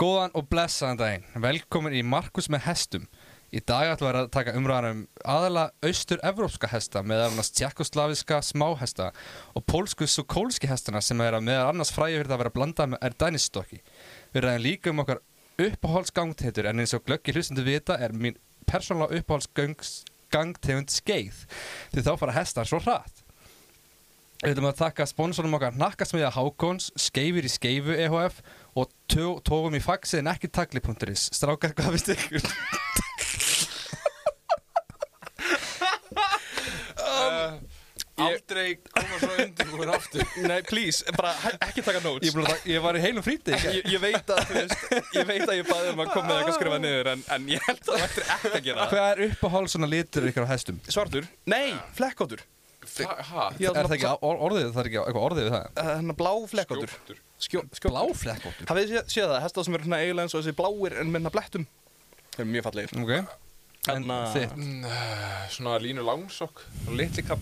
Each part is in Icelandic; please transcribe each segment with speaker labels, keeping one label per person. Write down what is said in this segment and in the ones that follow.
Speaker 1: Góðan og blessaðan daginn. Velkomin í Markus með hestum. Í dag ætlum við að taka umræðan um aðalega austur-evrópska hesta meðal annars tjekkoslaviska smáhesta og pólsku sukólski hestana sem er að meðal annars fræði fyrir það að vera blandað með erdanistokki. Við ræðum líka um okkar uppáhaldsgangtetur en eins og glöggi hlustundu vita er mín persónulega uppáhaldsgangtegund skeið því þá fara hestar svo hratt. Við ætlum að þakka sponsorum okkar Nakkasmiðja Hákons, Skeifir í Skeifu EHF og tó- tófum í faxið en ekki tagli.is. Strákar, hvað finnst ykkur?
Speaker 2: Aldrei koma svo undirbúin aftur Nei, please, bara hæ- ekki taka notes
Speaker 1: Ég, búið, að- ég var í heilum frítið.
Speaker 2: ég, ég veit að, þú veist, ég veit að ég baði um að koma með eitthvað skrifað niður en, en ég held að það ættir ekki að gera það
Speaker 1: Hvað er uppáhald svona litur ykkur á hestum?
Speaker 2: Svartur? Nei, flekkóttur
Speaker 3: Hvað?
Speaker 1: Er það ekki á- or- orðið, það er ekki á- eitthvað orðið við það?
Speaker 2: Þannig að eh, hérna blá flekkóttur Skjóttur
Speaker 1: Blá flekkóttur.
Speaker 2: Hafið þið séð- séð það, hestað sem eru svona eiginlega eins og þessi bláir en minna blettum Þeir eru mjög fallegir
Speaker 1: Ok. En
Speaker 2: Þarna-
Speaker 1: þitt,
Speaker 3: Mm, eh, Svona línu langsokk og litli kall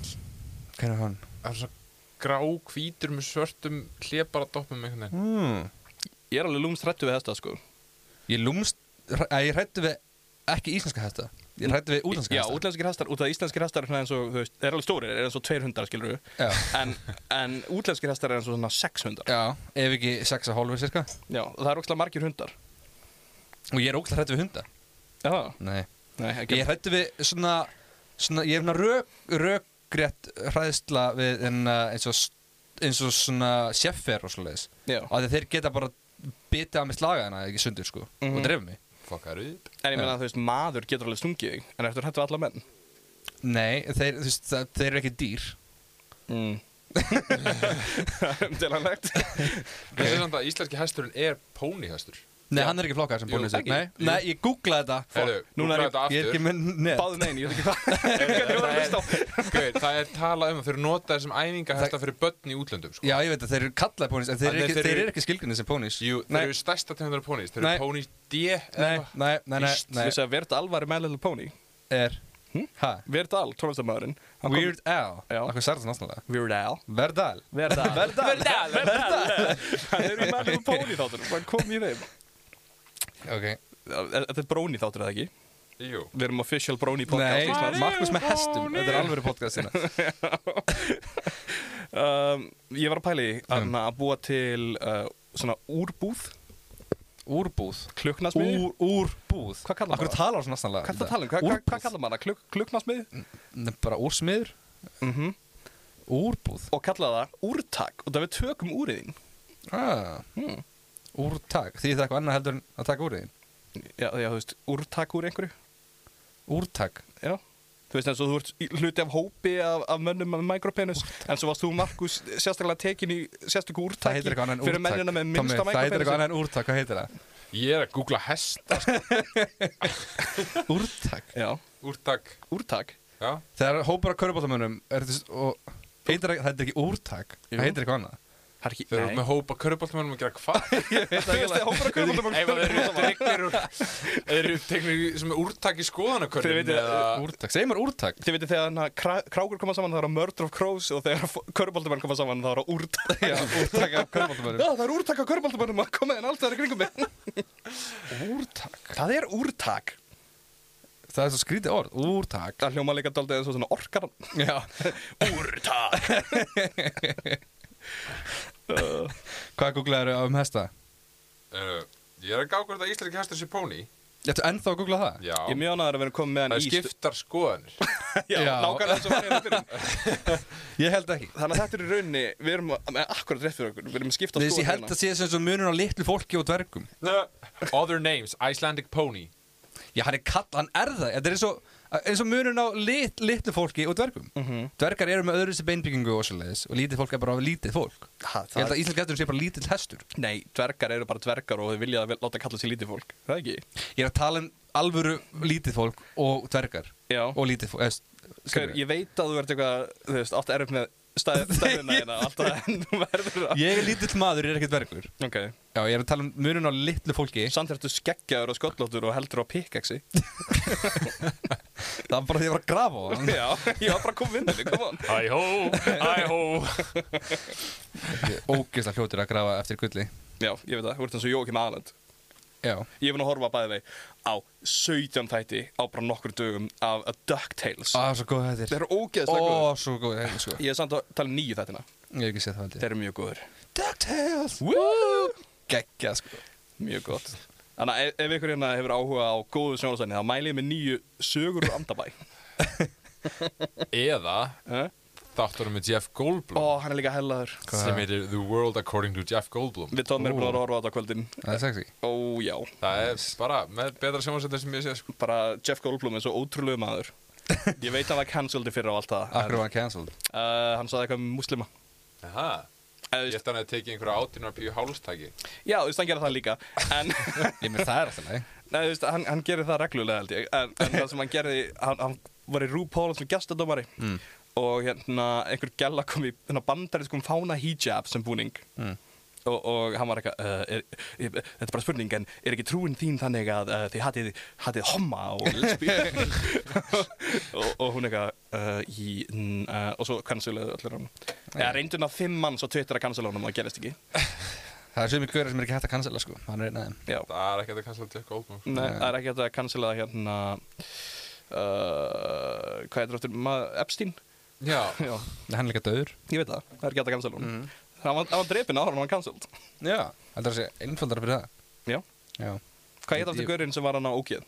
Speaker 1: hvernig er hann?
Speaker 3: Það er svona grá hvítur með svörtum hlébaradoppum einhvern veginn
Speaker 1: Hmm.
Speaker 2: Ég er alveg lúmst hrættu við hestað sko
Speaker 1: Ég lúmst, að ég hrættu við ekki íslenska hesta. Ég hrættu við útlenska
Speaker 2: Já,
Speaker 1: hesta.
Speaker 2: útlenskir hestar, út af íslenskir hestar er svona eins og, þú veist, er alveg stórir, er eins og tveir hundar, skilur
Speaker 1: Já.
Speaker 2: En, en útlenskir hestar er eins og svona sex hundar
Speaker 1: Já, ef ekki 6,5 cirka.
Speaker 2: Já, og það er ókslega margir hundar
Speaker 1: Og ég er ógæslega hrættu við hunda.
Speaker 2: Já,
Speaker 1: Nei.
Speaker 2: nei, ekki
Speaker 1: Ég hrættu við svona, svona ég er svona rök, rökrétt hræðsla við en, uh, eins, og, s- eins og svona sjeffer og svoleiðis.
Speaker 2: Já.
Speaker 1: Og því þeir geta bara bitið að mig slaga hana, ekki sundur sko,
Speaker 2: Mhm.
Speaker 1: og drefa mig.
Speaker 3: Fokkar upp
Speaker 2: En ég meina að þú veist, maður getur alveg stungið þig En eftir hættu alla menn
Speaker 1: Nei, þeir, þú veist, það, þeir eru ekki dýr.
Speaker 2: mm. Umdelanlegt
Speaker 3: Það er samt að íslenski hesturinn er pónihestur
Speaker 1: Nei,
Speaker 2: Já.
Speaker 1: hann er ekki flokkað sem
Speaker 3: Jú,
Speaker 1: búin þessi.
Speaker 2: ekki.
Speaker 1: Nei,
Speaker 3: Jú.
Speaker 1: nei, ég googlaði þetta.
Speaker 3: Herru,
Speaker 2: núna
Speaker 3: núna
Speaker 2: er
Speaker 3: er þetta
Speaker 1: Ég er
Speaker 3: aftur
Speaker 1: ekki með net.
Speaker 2: Báðu megin, ég veit ekki hvað Ég veit ekki hvað það er að hlusta á.
Speaker 3: Gauð, Það er talað um að þeir eru notaðir sem æfingahesta fyrir börn í útlöndum sko.
Speaker 1: Já, ég veit að þeir eru kallaði pónís, en þeir
Speaker 3: En
Speaker 1: eru ekki,
Speaker 3: þeir
Speaker 1: þeir
Speaker 3: eru-
Speaker 1: eru ekki skilgrunni sem pónís.
Speaker 3: Jú, þeir
Speaker 1: nei,
Speaker 3: eru stærsta tegundar af pónís Þeir
Speaker 1: Nei.
Speaker 3: eru pónís D eða
Speaker 1: nei,
Speaker 3: eitthvað.
Speaker 1: nei, nei, nei,
Speaker 3: Íst,
Speaker 1: nei,
Speaker 2: Vissi að Vert Al var í My Little Pony
Speaker 1: er, hæ,
Speaker 2: Vert Al, tónlistamæðurinn
Speaker 1: Weird Al,
Speaker 2: Já.
Speaker 1: okkur sær þetta náttúrulega,
Speaker 2: Weird Al
Speaker 1: Verdal,
Speaker 2: Vert Al Vert Al Vert Al Hann er í My Little Pony þáttunum Hann kom í þeim
Speaker 1: ok,
Speaker 2: Þetta er Brony þáttur eða ekki
Speaker 3: Jú
Speaker 2: Við erum official Brony podcast
Speaker 1: Nei,
Speaker 2: Íslands.
Speaker 1: Markus með hestum Þetta er alveg podcast hérna
Speaker 2: um, Ég var að pæli
Speaker 1: Mm.
Speaker 2: að, að búa til uh, svona úrbúð
Speaker 1: Úrbúð
Speaker 2: Kluknasmiði
Speaker 1: Úr, úrbúð
Speaker 2: Hvað kallar
Speaker 1: Akkur
Speaker 2: maður það?
Speaker 1: talar svona snarlega
Speaker 2: Hvað er það að tala um? Hvað, hvað, hvað kallar maður það? Kluk, kluknasmið?
Speaker 1: Nei, bara úrsmiður
Speaker 2: Mm
Speaker 1: Mhm. Úrbúð
Speaker 2: Og kalla það úrtak og það við tökum úr í þín.
Speaker 1: ah. Úrtak Því það er eitthvað annað heldur en að taka úr þín
Speaker 2: Já, já, þú veist, úrtak úr einhverju.
Speaker 1: Úrtak
Speaker 2: Já. Þú veist, eins og þú ert í- hluti af hópi af, af mönnum með micropenis, en svo varst þú, Markus, sérstaklega tekin í sérstöku úrtaki
Speaker 1: Það heitir eitthvað annað en
Speaker 2: fyrir
Speaker 1: úrtak
Speaker 2: mennina með
Speaker 1: Tommi,
Speaker 2: minnsta
Speaker 1: Það heitir eitthvað
Speaker 2: micropenis.
Speaker 1: annað en úrtak Hvað heitir það?
Speaker 3: Ég er að googla hesta sko.
Speaker 1: Úrtak
Speaker 2: Já,
Speaker 3: Úrtak
Speaker 2: úrtak.
Speaker 3: Já
Speaker 1: Þegar hópur af körubóttamönnum er þess- og- heitir ekki- Það heitir ekki úrtak
Speaker 2: Jú.
Speaker 1: Það heitir eitthvað annað
Speaker 2: Það er ekki,
Speaker 3: Þeir eru
Speaker 2: nei.
Speaker 3: með hópa köruboltamönnum að gera hvað?
Speaker 2: Þú veist, það hópar að köpa það
Speaker 3: Ef þeir eru dregnir úr Þeir eru tegnir sem er úrtak í
Speaker 2: Þeir
Speaker 3: skoðanakörnum
Speaker 2: veitir-
Speaker 3: eða
Speaker 1: Úrtak Segir maður úrtak
Speaker 2: Þið veitir þegar hana, krá, krákur koma saman þá er að Murder of Crows og þegar körbaldamenn koma saman þá er að úrtak
Speaker 1: Já, úrtak af körubóttamönnum
Speaker 2: Já, það er úrtak á körbaldamennum að koma inn alltaf í kringum mig
Speaker 1: Úrtak
Speaker 2: Það er úrtak
Speaker 1: Það er svo skrítið orð Úrtak
Speaker 2: Það hljóma líka daldið eins og svona orkar
Speaker 1: Já
Speaker 2: Úrtak
Speaker 1: Hvað googlaðu um hesta?
Speaker 3: Uh, Ég er að gá hvort að íslenski hestur sé póni
Speaker 1: Ég ættu ennþá að googla það?
Speaker 3: Já
Speaker 2: Ég er mjög ánægður að vera komið með
Speaker 3: Það
Speaker 2: hann
Speaker 3: er
Speaker 2: í
Speaker 3: skiptar skoðanir
Speaker 2: stu- Já,
Speaker 1: Já.
Speaker 2: nákvæmlega eins og hérna hann er að byrja
Speaker 1: Ég held ekki
Speaker 2: Þannig að þetta er í rauninni Við erum að- með akkurat rétt fyrir okkur Við erum að skipta
Speaker 1: Við þessi held að
Speaker 2: hérna.
Speaker 1: sé sem svo munur á litlu fólki og dvergum
Speaker 3: Other names, Icelandic pony
Speaker 1: Já, hann er kall, hann er það Þetta er eins og, eins og munur á lit, litlu fólki og dvergum Dvergar eru með öðru sér beinbyggingu og svoleiðis Og lítið fólk er bara lítið fólk
Speaker 2: Ha,
Speaker 1: Ég held
Speaker 2: það-
Speaker 1: að Íslensk getur sé bara lítill hestur
Speaker 2: Nei, dvergar eru bara dvergar og þau vilja að láta kalla sér lítið fólk Það ekki?
Speaker 1: Ég er að tala um alvöru lítið fólk og dvergar
Speaker 2: Já.
Speaker 1: Og lítið fólk eða,
Speaker 2: Hver,
Speaker 1: skilurðu?
Speaker 2: ég veit að þú ert eitthvað, þú veist, átt erfitt með stæð, stæðina hérna Alltaf en þú verður að
Speaker 1: Ég er lítill maður, ég er ekkert dvergur
Speaker 2: Ok,
Speaker 1: Já, ég er að tala um munur á litlu fólki
Speaker 2: samt ertu skeggjaður og skollóttur og heldur á pikkaxi
Speaker 1: Það var bara því að ég var að grafa á hann
Speaker 2: Já, ég var bara að koma vinninni, kom on
Speaker 3: Æhó, æhó
Speaker 1: Ógeðslega fljótur að grafa eftir gulli
Speaker 2: Já, ég veit það, þú ert eins og Jókim Aland
Speaker 1: Já.
Speaker 2: Ég er búin að horfa bæði vei á 17 þætti á bara nokkur dögum af A DuckTales.
Speaker 1: Á, svo góð þetta
Speaker 2: Ah, Þeir
Speaker 1: er
Speaker 2: eru ógeðslega góður.
Speaker 1: Ó, svo góð þetta er sko
Speaker 2: Ég er samt að tala um nýju þættina.
Speaker 1: Ég hef ekki séð það held
Speaker 2: Þeir eru mjög góður.
Speaker 1: ég DuckTales Gekkja sko
Speaker 2: Mjög gott. Þannig að ef, ef ykkur hérna hefur áhuga á góðu sjónastæni þá mæli ég með nýju sögur úr Andabæ.
Speaker 3: Eða
Speaker 2: Eh?
Speaker 3: þátturum með Jeff Goldblum
Speaker 2: Ó, hann er líka hellaður.
Speaker 3: sem heitir The World According to Jeff Goldblum
Speaker 2: Við tóðum mér
Speaker 1: Ó.
Speaker 2: búin að horfa á þetta á kvöldin.
Speaker 1: Það er sexy
Speaker 2: Ó, já.
Speaker 3: Það er bara með betra sjónvarsættar sem ég sé sko.
Speaker 2: Bara Jeff Goldblum er svo ótrúlegu maður. Ég veit að hann var cancelled í fyrra á allt það.
Speaker 1: Akkur var hann cancelled
Speaker 2: Uh, hann sagði eitthvað um muslima.
Speaker 3: Aha.
Speaker 2: Eh,
Speaker 3: Ég ætti hann að tekið einhverja átunar píu hálstaki
Speaker 2: Já, þú veist, hann gera það líka. En...
Speaker 1: Ég með það er alltaf leið
Speaker 2: Nei, þú veist, hann, hann gerir það reglulega held ég En, en það sem hann gerði, hann, hann var í RuPaul sem gestadómari mm. Og hérna, einhver gæla kom í hérna, bandariskum fána hijab sem búning
Speaker 1: Mm.
Speaker 2: og, og hann var eitthvað, uh, er, er, þetta er bara spurning En er ekki trúin þín þannig að uh, þið hatið, hatið homma og lesbí og, og hún eitthvað, uh, í, n, uh, og svo canceluðu allir hann Eða reyndun af fimm mann svo tvittir að cancela honum og það gerist ekki
Speaker 1: Það er sögum í göra sem er ekki hægt að cancella sko Hann er einn af þeim
Speaker 2: Já
Speaker 3: Það er ekki að kansla Jeff Goldblum sko.
Speaker 2: Nei, það er ekki hægt að cancela það hérna uh, Hvað heitir áttur? Ma Epstein?
Speaker 3: Já,
Speaker 2: Já,
Speaker 1: Hann er líka döður
Speaker 2: ég veit það, það er ekki hægt að cancela hún mm. Hann var, hann var drepin ára hann var cancelled
Speaker 1: Já Það er að segja einfaldara fyrir það
Speaker 2: Já,
Speaker 1: Já
Speaker 2: hvað heitir
Speaker 1: Ég-
Speaker 2: áttur gaurinn sem var hann á ógeð?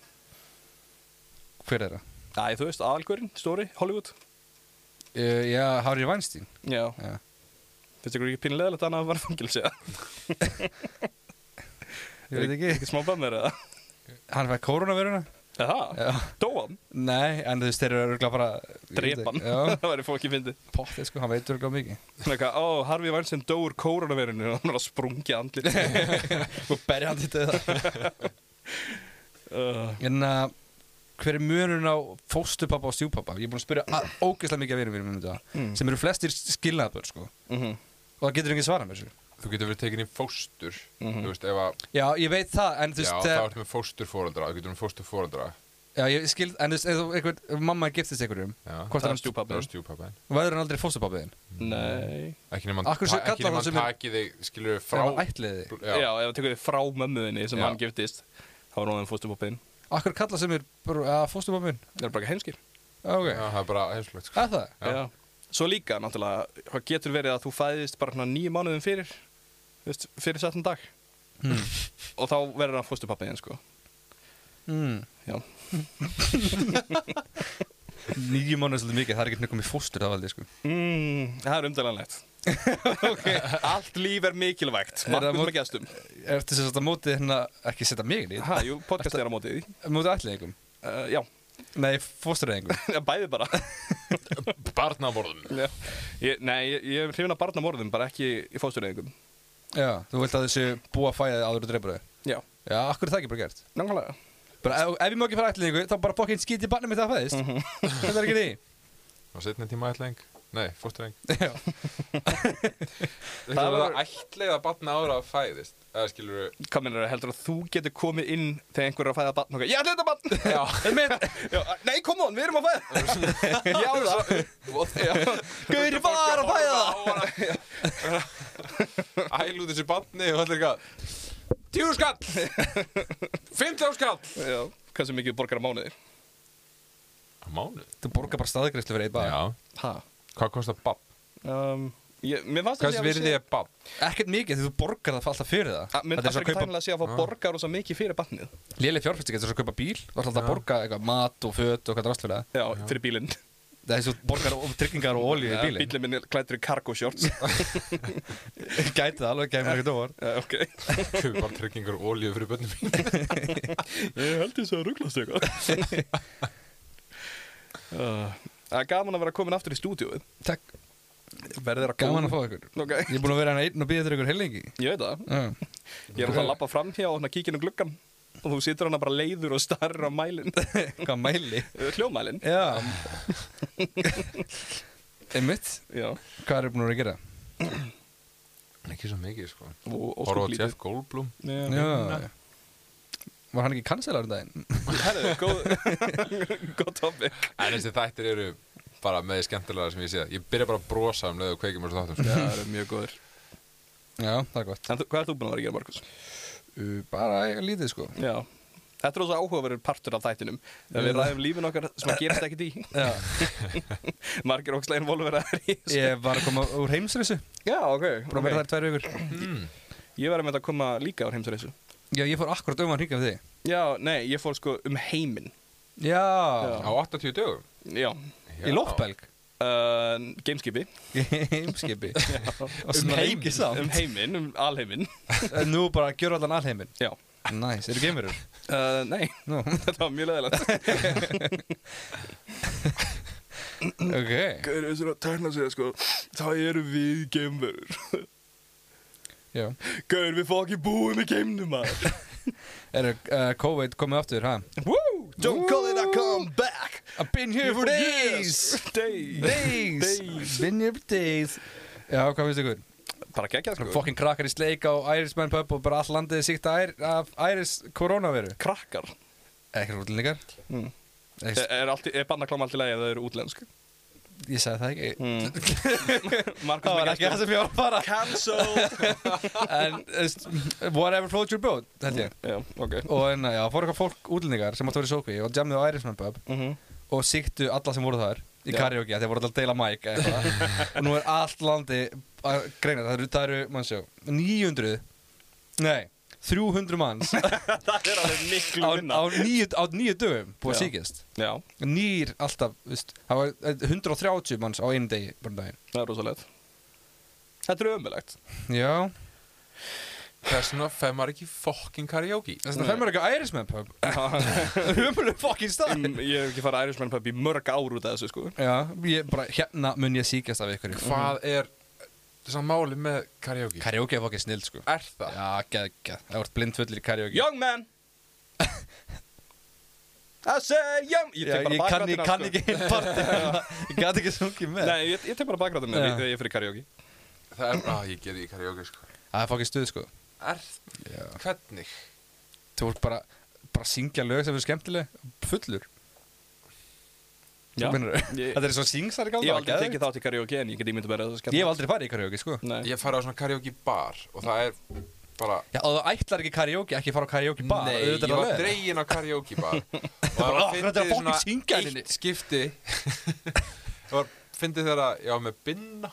Speaker 1: Hver er það?
Speaker 2: Æ, þú veist, aðalgaurinn, stóri, Hollywood
Speaker 1: Uh, já, Harry Weinstein
Speaker 2: Já,
Speaker 1: Já
Speaker 2: finnst ykkur ekki pinnilegilegt að hann hafi var fangilsi
Speaker 1: Ég veit ekki
Speaker 2: Ekki smá bannir eða?
Speaker 1: Hann fæði koronaviruna
Speaker 2: Jaha,
Speaker 1: Já
Speaker 2: dó hann,
Speaker 1: Nei, en þú veist, þeir eru örgulega bara
Speaker 2: drep hann
Speaker 1: Já,
Speaker 2: Það væri fókið fyndi
Speaker 1: pottið sko, hann veit örgulega mikið
Speaker 2: Þannig að, ó, Harfi Vænsson dóur kóranavérinu og hann var að sprungja andlit
Speaker 1: Og berja hann til þetta
Speaker 2: uh,
Speaker 1: En að, hver er munurinn á fóstupappa og stjúpappa? Ég er búin að spyrja að- ógeðslega mikið að vinum mínum um þetta
Speaker 2: Mm.
Speaker 1: Sem eru flestir skilnaðabörn sko Og
Speaker 2: mm -hmm.
Speaker 1: það getur enginn svarað mér svo
Speaker 3: þú getur verið tekin í fóstur
Speaker 2: Mhm.
Speaker 3: Þú veist, ef að
Speaker 1: Já, ég veit það, en þú
Speaker 3: Já,
Speaker 1: veist
Speaker 3: þá
Speaker 1: eh,
Speaker 3: ertu með fósturfóreldra, þú getur með fósturfóreldra
Speaker 1: Já, ég skil, en þú veist, ef þú- einhver, ef mamma giftist einhverjum
Speaker 3: Já.
Speaker 1: Hvort
Speaker 2: Það
Speaker 1: er
Speaker 2: er
Speaker 1: hann stjúp
Speaker 3: Það
Speaker 2: stjúpabbi
Speaker 3: er stjúpapæðin
Speaker 1: Væður hann aldrei fóstupappiðin?
Speaker 2: Nei
Speaker 3: Ekki nema
Speaker 1: Af hverju
Speaker 3: hann ta-
Speaker 1: kallar
Speaker 3: ekki nema
Speaker 1: hann sem
Speaker 3: hann
Speaker 1: er-
Speaker 3: taki þig, skilur
Speaker 1: Frá
Speaker 3: frá
Speaker 1: ætliði
Speaker 3: Já,
Speaker 2: Já, ef það tekur þið frá mömmuðinni sem
Speaker 3: Já.
Speaker 2: hann giftist þá var hún fóstupoppiðin
Speaker 1: Akkur kalla sem er bara fóstupappin?
Speaker 2: Það er bara ekki heimskir
Speaker 1: Ok,
Speaker 3: Já, það er bara heimslögt sko.
Speaker 1: að það?
Speaker 3: Já.
Speaker 2: Já. Svo líka náttúrulega hvað getur verið að þú fæðist bara svona nýju mánuðum fyrir þú veist, fyrir setnum dag og þá verður hann fóstupoppiðin sko
Speaker 1: Mm.
Speaker 2: Já,
Speaker 1: Nýju mánuð er svolítið mikið, það er ekki neitt komið fóstur það valdi, sko.
Speaker 2: mm, það er umdalanlegt okay. Allt líf er mikilvægt
Speaker 1: Er það
Speaker 2: Markus
Speaker 1: mót-
Speaker 2: með gestum
Speaker 1: Er þetta svolítið að mótið hérna, ekki setja mig inn í,
Speaker 2: ha, Jú, podcast er á mótið því
Speaker 1: mótið ætliðingum?
Speaker 2: uh, Já,
Speaker 1: Nei, fósturðingum.
Speaker 2: bæði bara
Speaker 3: Barnaborðum
Speaker 2: Já. ég, Nei, ég, ég er hrifin að barnamorðum bara ekki í fóstureyðingum
Speaker 1: Já, þú vilt að þessu búa að fæða áður og drepa þau.
Speaker 2: Já,
Speaker 1: Já, akkur er það ekki bara gert?
Speaker 2: nákvæmlega
Speaker 1: Bara ef, ef ég má ekki fara ætliðingu, þá bara bókinn skítið barnið mitt að fæðist. Þetta er ekki því.
Speaker 3: Og setna tíma ætlaðing Nei, fóstureng
Speaker 1: Já.
Speaker 3: Það
Speaker 2: var-
Speaker 3: er það ætlaðið að barna ára að fæðist Eða skilur
Speaker 2: hvað minnur það, heldur að þú getur komið inn þegar einhver er að fæða barn og eitthvað, ég ætla þetta barn
Speaker 3: Já
Speaker 1: Einmitt,
Speaker 2: já, nei, kom on, við erum að fæða já, það
Speaker 1: Gauri var að fæða það.
Speaker 3: það Æl út þessu barni og allir eitthvað Tíu skall Fimmtján skall
Speaker 2: já, hversu mikið borgar að mánuði
Speaker 3: Á mánuð
Speaker 1: Þú borgar bara staðgreifslu fyrir einn bara.
Speaker 3: Já
Speaker 2: ha,
Speaker 3: Hvað kostar barn?
Speaker 2: um, ég, mér fannst
Speaker 3: Hvers virði
Speaker 2: ég
Speaker 3: er barn?
Speaker 1: Ekkert mikið, því þú borgar það alltaf fyrir það.
Speaker 2: Ah, Mér
Speaker 1: Þetta er
Speaker 2: fannst
Speaker 1: svo
Speaker 2: ekki
Speaker 1: að kaupa
Speaker 2: tænilega að sé að fá borgar rosa mikið fyrir barnið
Speaker 1: léleg fjárfæsting, þetta er svo að kaupa bíl. Þú ætlar alltaf að borga eitthvað mat og föt og hvað drast fyrir það.
Speaker 2: Já, fyrir bílinn
Speaker 1: Það er svo borgar og tryggingar og olíu í bílinn.
Speaker 2: Bílinn minn er klæddur í cargo shorts
Speaker 1: Gæti það alveg, gæmi ekkert óvar
Speaker 2: Já, ok
Speaker 3: Kaupi bara tryggingar og olíu fyrir börnum mín
Speaker 2: Ég held þess að rugglast eitthvað Uh, Það er gaman að vera komin aftur í stúdíóið
Speaker 1: Takk,
Speaker 2: Verður að
Speaker 1: gaman að fá ykkur
Speaker 2: Ok.
Speaker 1: Ég er búin að vera hérna einn og býða þér ykkur heilengi
Speaker 2: Ég veit það
Speaker 1: Já,
Speaker 2: Ég er alltaf að lappa fram hér og hérna kíkja inn um gluggan og þú situr hann bara leiður og starrir á mælinn Eh,
Speaker 1: hvað mæli
Speaker 2: hljómælinn
Speaker 1: Já Einmitt,
Speaker 2: Já,
Speaker 1: hvað er búin að vera að gera?
Speaker 3: Ekki svo mikið sko
Speaker 2: og, og
Speaker 3: Horfa á
Speaker 2: skúlítið.
Speaker 3: Jeff Goldblum
Speaker 1: Já, já Var hann ekki kanselar um daginn?
Speaker 2: Herðu, góð góð topic
Speaker 3: En þessi þættir eru bara með því skemmtilega sem ég sé það. Ég byrja bara að brosa um leið og kveikja mér svo þáttum sko.
Speaker 2: Já, það eru mjög góður
Speaker 1: Já, það er gott
Speaker 2: En þú, hvað ert þú búin að vera að gera, Markus?
Speaker 1: Uh, bara eiga lítið sko
Speaker 2: Já. Þetta er ósað áhugaverður partur af þættinum. Þegar við ræðum lífin okkar sem að gerast ekkert í.
Speaker 1: Já.
Speaker 2: Margir ókslega involveraðar í þessu.
Speaker 1: Ég var að koma úr heimsreysu
Speaker 2: Já, ok.
Speaker 1: Búin að vera þær tvær vikur
Speaker 2: Ég var að mynda að koma líka úr heimsreysu.
Speaker 1: Já, ég fór akkurat um að hringa við þig
Speaker 2: Já, nei, ég fór sko um heiminn.
Speaker 1: Já,
Speaker 2: Já.
Speaker 3: Á 80 dögum?
Speaker 2: Já.
Speaker 1: í loftbelg
Speaker 2: Uh, gameskipi.
Speaker 1: Í heimskipi Um
Speaker 2: Um heiminn, um alheiminn.
Speaker 1: Nú bara að gjöra allan alheiminn
Speaker 2: Já.
Speaker 1: Næs, eru geimurur?
Speaker 2: Uh, nei,
Speaker 1: Nú,
Speaker 2: þetta var mjög leðilegt.
Speaker 1: ok
Speaker 2: Gauður þessir að tækna sig, sko, það eru við geimverur.
Speaker 1: Já
Speaker 2: Gauður, við fá ekki búið með geimnum, maður.
Speaker 1: Eru uh, COVID komið aftur, ha?
Speaker 2: Woo! Don't call it a comeback!
Speaker 1: I've been here for days
Speaker 2: Days!
Speaker 1: Days Been here for days Já, hvað finnst ykkur?
Speaker 2: Bara geggjað, sko.
Speaker 1: Fokkin krakkar í sleik á Irisman pub og bara all landið síkt af Iris koronaviru
Speaker 2: Krakkar.
Speaker 1: Ekkert útlendingar
Speaker 2: Mm.
Speaker 1: Ekkert-
Speaker 2: Er, er, alltid- er bannaklám allt í lagi að þau eru útlensk?
Speaker 1: Ég sagði það ekki
Speaker 2: Mm. Markus
Speaker 1: Það var
Speaker 2: með
Speaker 1: ekki það
Speaker 2: gestur.
Speaker 1: sem ég var að fara
Speaker 2: Cancel!
Speaker 1: En þú veist, whatever floats your boat Held ég
Speaker 2: Já, ok.
Speaker 1: Og en já, fór eitthvað fólk útlendingar sem átt að vera í sókví og jammiðu á Irishman pub
Speaker 2: Mhm.
Speaker 1: og síktu alla sem voru þar í
Speaker 2: Já.
Speaker 1: karaoke af því að voru alltaf að deila mæk og nú er allt landi að greina það eru, það eru mann sjá 900 nei 300 manns á,
Speaker 2: Það er alveg miklu
Speaker 1: á,
Speaker 2: minna.
Speaker 1: níu, á níu dögum búið að
Speaker 2: Já.
Speaker 1: síkist
Speaker 2: Já,
Speaker 1: nýr alltaf veist, það var eh, 130 manns á einu degi bara um daginn
Speaker 2: það er rosalegt. Þetta er ömulegt.
Speaker 1: já
Speaker 3: Hvers vegna fer maður ekki fokkin karaoke?
Speaker 1: þess að það fær mér ekki Irishman pub umhverfum fokkin stað
Speaker 2: Mm, ég hef ekki farið að Irishman Pub í mörg ár út af þessu sko
Speaker 1: já ég bara hérna mun ég síkast af ykkur
Speaker 3: Hvað er þess að máli með karaoke?
Speaker 1: karaoke er fokkin snill sko
Speaker 3: er það?
Speaker 1: já geggja það vart blindfullir í karaoke
Speaker 2: Young man I said young Ég
Speaker 1: Já,
Speaker 2: tek bara
Speaker 1: ég kann, ég
Speaker 2: bakrættina
Speaker 1: kann ekki einn partin Ég gat ekki sungið með
Speaker 2: Nei, ég, ég tek bara bakrættina
Speaker 1: Já.
Speaker 2: yeah. þegar ég fyrir karaoke
Speaker 3: Það er, á, ég gerði í karaoke sko.
Speaker 1: Það er fokkið stuð sko
Speaker 3: Er, hvernig?
Speaker 1: Þú voru bara, bara að syngja lög sem er skemmtileg Fullur
Speaker 2: Já.
Speaker 1: Meinar,
Speaker 2: Ég-
Speaker 1: Þetta er svo syngsar
Speaker 2: Ég hef aldrei tekið þátt í karaoke en ég get ímyndu verið að það skemmt
Speaker 1: Ég hef aldrei farið í karaoke sko
Speaker 2: Nei,
Speaker 3: Ég fara á svona karaoke bar og það er bara
Speaker 1: Já, og þú ætlar ekki í karaoke, ekki fara á karaoke bar
Speaker 3: Nei, ég var dregin á karaoke bar og það
Speaker 1: Bara, "Ah,
Speaker 3: var
Speaker 1: þetta er að
Speaker 3: fyndið
Speaker 1: fucking syngja
Speaker 3: svona
Speaker 1: henni."
Speaker 3: eitt skipti það var fyndið þegar að ég var með Binna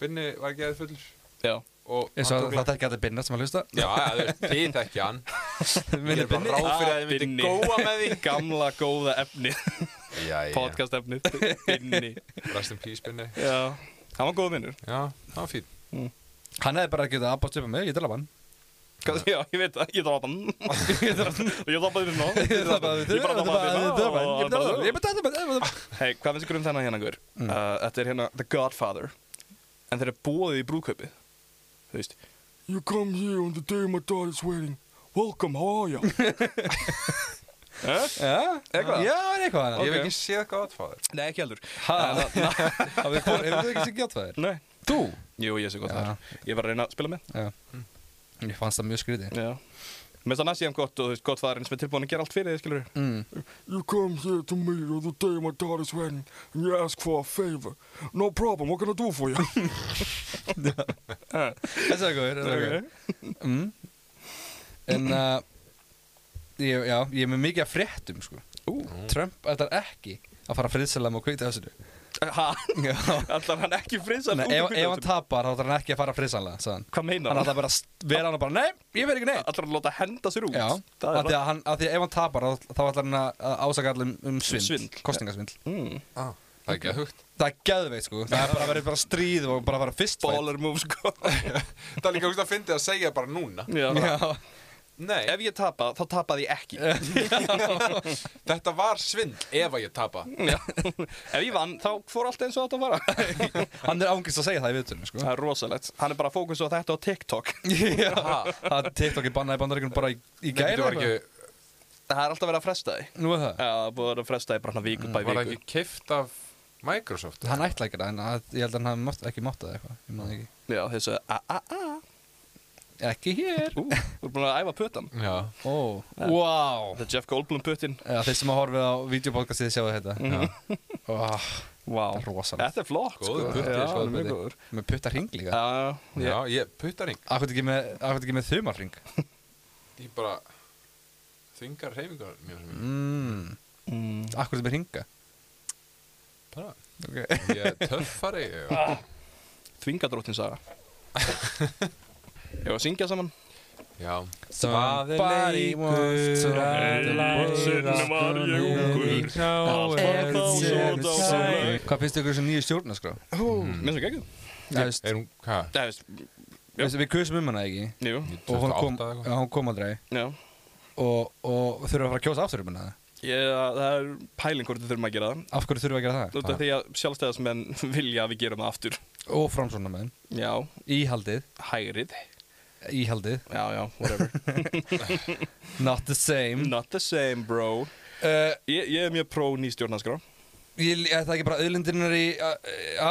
Speaker 3: Binni var ekki aðeins fullur
Speaker 2: já
Speaker 3: og
Speaker 1: Eins og
Speaker 3: tók-
Speaker 1: þetta ekki að þetta binna sem að hlusta
Speaker 3: Já, já, þú veist, þið ekki hann Ég
Speaker 1: Minni
Speaker 3: er bara ráð fyrir að þið
Speaker 2: Binni.
Speaker 3: myndi góa með því
Speaker 2: Gamla góða efni
Speaker 3: Já, já,
Speaker 2: Podcast efni Binni
Speaker 3: rest in peace Binni
Speaker 2: Já Hann var góð vinnur
Speaker 3: Já, það var fín
Speaker 1: Hann hefði bara getað að abbast upp á mig, ég tala hann
Speaker 2: Hvað- Já, ég veit það Ég þátt hann Og ég þátt hann þinn og
Speaker 1: Ég tala hann,
Speaker 2: Ég bara þátt hann þinn
Speaker 1: ég tala hann Ég bara tala hann
Speaker 2: Hei, hvað finnst ykkur um þennan hérna, Guður?
Speaker 1: Mm.
Speaker 2: Uh, þetta er hérna The Godfather En þeir eru bóðið í brúðkaupið Þú veist You come here on the day my daughter's wedding Welcome, how are you? eh?
Speaker 1: Já,
Speaker 2: Eitthvað?
Speaker 1: Já, er eitthvað
Speaker 3: Ég
Speaker 1: annað.
Speaker 3: hef ekki séð Godfather
Speaker 2: Nei, ekki heldur
Speaker 1: Ha, hafið þið fór- Hefur þið ekki syngja það
Speaker 2: Nei
Speaker 1: Þú?
Speaker 2: Jú, ég sé gott
Speaker 1: Já.
Speaker 2: það Ég var að reyna að spila með
Speaker 1: Já Ég fannst það mjög skrítið
Speaker 2: Já Mér finnst það næst ég um gott og þú veist, Godfatherinn sem er tilbúin að gera allt fyrir þið, skilur
Speaker 1: Mm.
Speaker 4: You come here to me on the day my daughter's wedding and you ask for a favor. No problem, what can I do for you?
Speaker 1: Þessi er góður, þessi er góður. Mm. En uh, ég, já, ég er með mikið að fréttum sko.
Speaker 2: Ú.
Speaker 1: Trump ætlar ekki að fara að friðsala með kveita þessu
Speaker 2: Ha? Allar hann ekki frinsal
Speaker 1: Nei, ef, ef hann tapar þá ætlar hann ekki að fara að friðsala hann
Speaker 2: Hvað meinar
Speaker 1: ætlar
Speaker 2: hann?
Speaker 1: bara að st- vera hann og bara Nei, ég verð ekki neitt
Speaker 2: Allar hann láta henda sér út
Speaker 1: Já,
Speaker 2: Það
Speaker 1: af
Speaker 2: er
Speaker 1: því að, hann, af því að ef hann tapar þá, þá ætlar hann að að ásaka allir um, um svindl,
Speaker 2: Svindl, já.
Speaker 1: kostingasvindl
Speaker 2: Mm.
Speaker 3: ah, Það er ekki að hugt
Speaker 1: Það er geðveikt sko, það er bara að vera bara stríð og bara að fara fyrst
Speaker 2: Baller move, sko
Speaker 3: Það er líka hugst að fyndið að segja bara núna
Speaker 2: Já.
Speaker 1: Já,
Speaker 3: Nei,
Speaker 2: Ef ég tapa, þá tapaði ég ekki
Speaker 3: þetta var svindl ef að ég tapa
Speaker 2: Já. Ef ég vann, þá fór allt eins og þetta að fara
Speaker 1: hann er ángist að segja það í viðtunum sko
Speaker 2: Það er rosalegt Hann er bara að fókusa á þetta og TikTok
Speaker 1: Já,
Speaker 3: Ha.
Speaker 1: það TikTok er bannað í bandaríkunum bara í, í
Speaker 3: Nei,
Speaker 1: gæri
Speaker 3: þetta var ekki
Speaker 2: Það er alltaf verið að fresta því Mm,
Speaker 1: Nú er það
Speaker 2: Já, það er búið að vera að fresta því bara hann viku bæ
Speaker 3: Var það
Speaker 2: viku
Speaker 3: ekki kift af Microsoft?
Speaker 1: Hann ætla ekki það, en að, ég held að hann hafi mátt, ekki mátt það eitthvað, ég maður ekki.
Speaker 2: Já, þessu a-a-a
Speaker 1: Ekki hér.
Speaker 2: Ú, þú er búin að æfa putan
Speaker 3: Já,
Speaker 1: Ó, wow.
Speaker 2: Þetta er Jeff Goldblum putin
Speaker 1: Já, þeir sem að horfið á videopodcastið sjáu þetta.
Speaker 2: Mhm.
Speaker 1: Já. Oh,
Speaker 2: Vá,
Speaker 1: rosalegt.
Speaker 2: þetta er flott sko.
Speaker 3: Góður putti,
Speaker 2: Já,
Speaker 3: sko,
Speaker 2: hann er mjög
Speaker 1: putti.
Speaker 2: góður
Speaker 1: Með putta hring líka.
Speaker 2: Já, já
Speaker 3: já, ég puttar ring
Speaker 1: Akkur ekki með, akkur ekki með þumarring.
Speaker 3: ég bara þvingar hreyfingar mjög sem ég
Speaker 1: mm.
Speaker 2: Mm.
Speaker 1: Akkur þetta með hringa
Speaker 3: bara,
Speaker 1: okay.
Speaker 3: ég er töffari og-
Speaker 2: Þvingadróttin saga Ég var að syngja saman
Speaker 3: já,
Speaker 1: Somebody wants to ride the
Speaker 2: Einu sinni var ég ungur. Allt var þá svo dásamlegt.
Speaker 1: Hvað finnst ykkur sem nýju stjórnarskrá?
Speaker 2: Mér sem geggjuð
Speaker 1: Þú veist,
Speaker 3: er hún, hvað,
Speaker 2: Það veist,
Speaker 1: þú veist, Við kusum um hana ekki
Speaker 2: jú,
Speaker 1: og hún kom,
Speaker 3: 28 eða eitthvað?
Speaker 1: já, hún kom aldrei
Speaker 2: já
Speaker 1: og, og þurfum að fara að kjósa aftur um hana
Speaker 2: Ég, það er pæling hvort við þurfum að gera það
Speaker 1: Af hverju þurfum við að gera það?
Speaker 2: Þú veit því að sjálfstæðismenn vilja að við gerum það aftur
Speaker 1: Og framsóna með
Speaker 2: Já,
Speaker 1: Íhaldið
Speaker 2: hægrið
Speaker 1: Íhaldið
Speaker 2: Já, já, whatever
Speaker 1: Not the same
Speaker 2: Not the same, bro
Speaker 1: uh,
Speaker 2: Ég, ég er mjög pró ný stjórnarskrá
Speaker 1: ég, Er það ekki bara auðlindirnar í uh,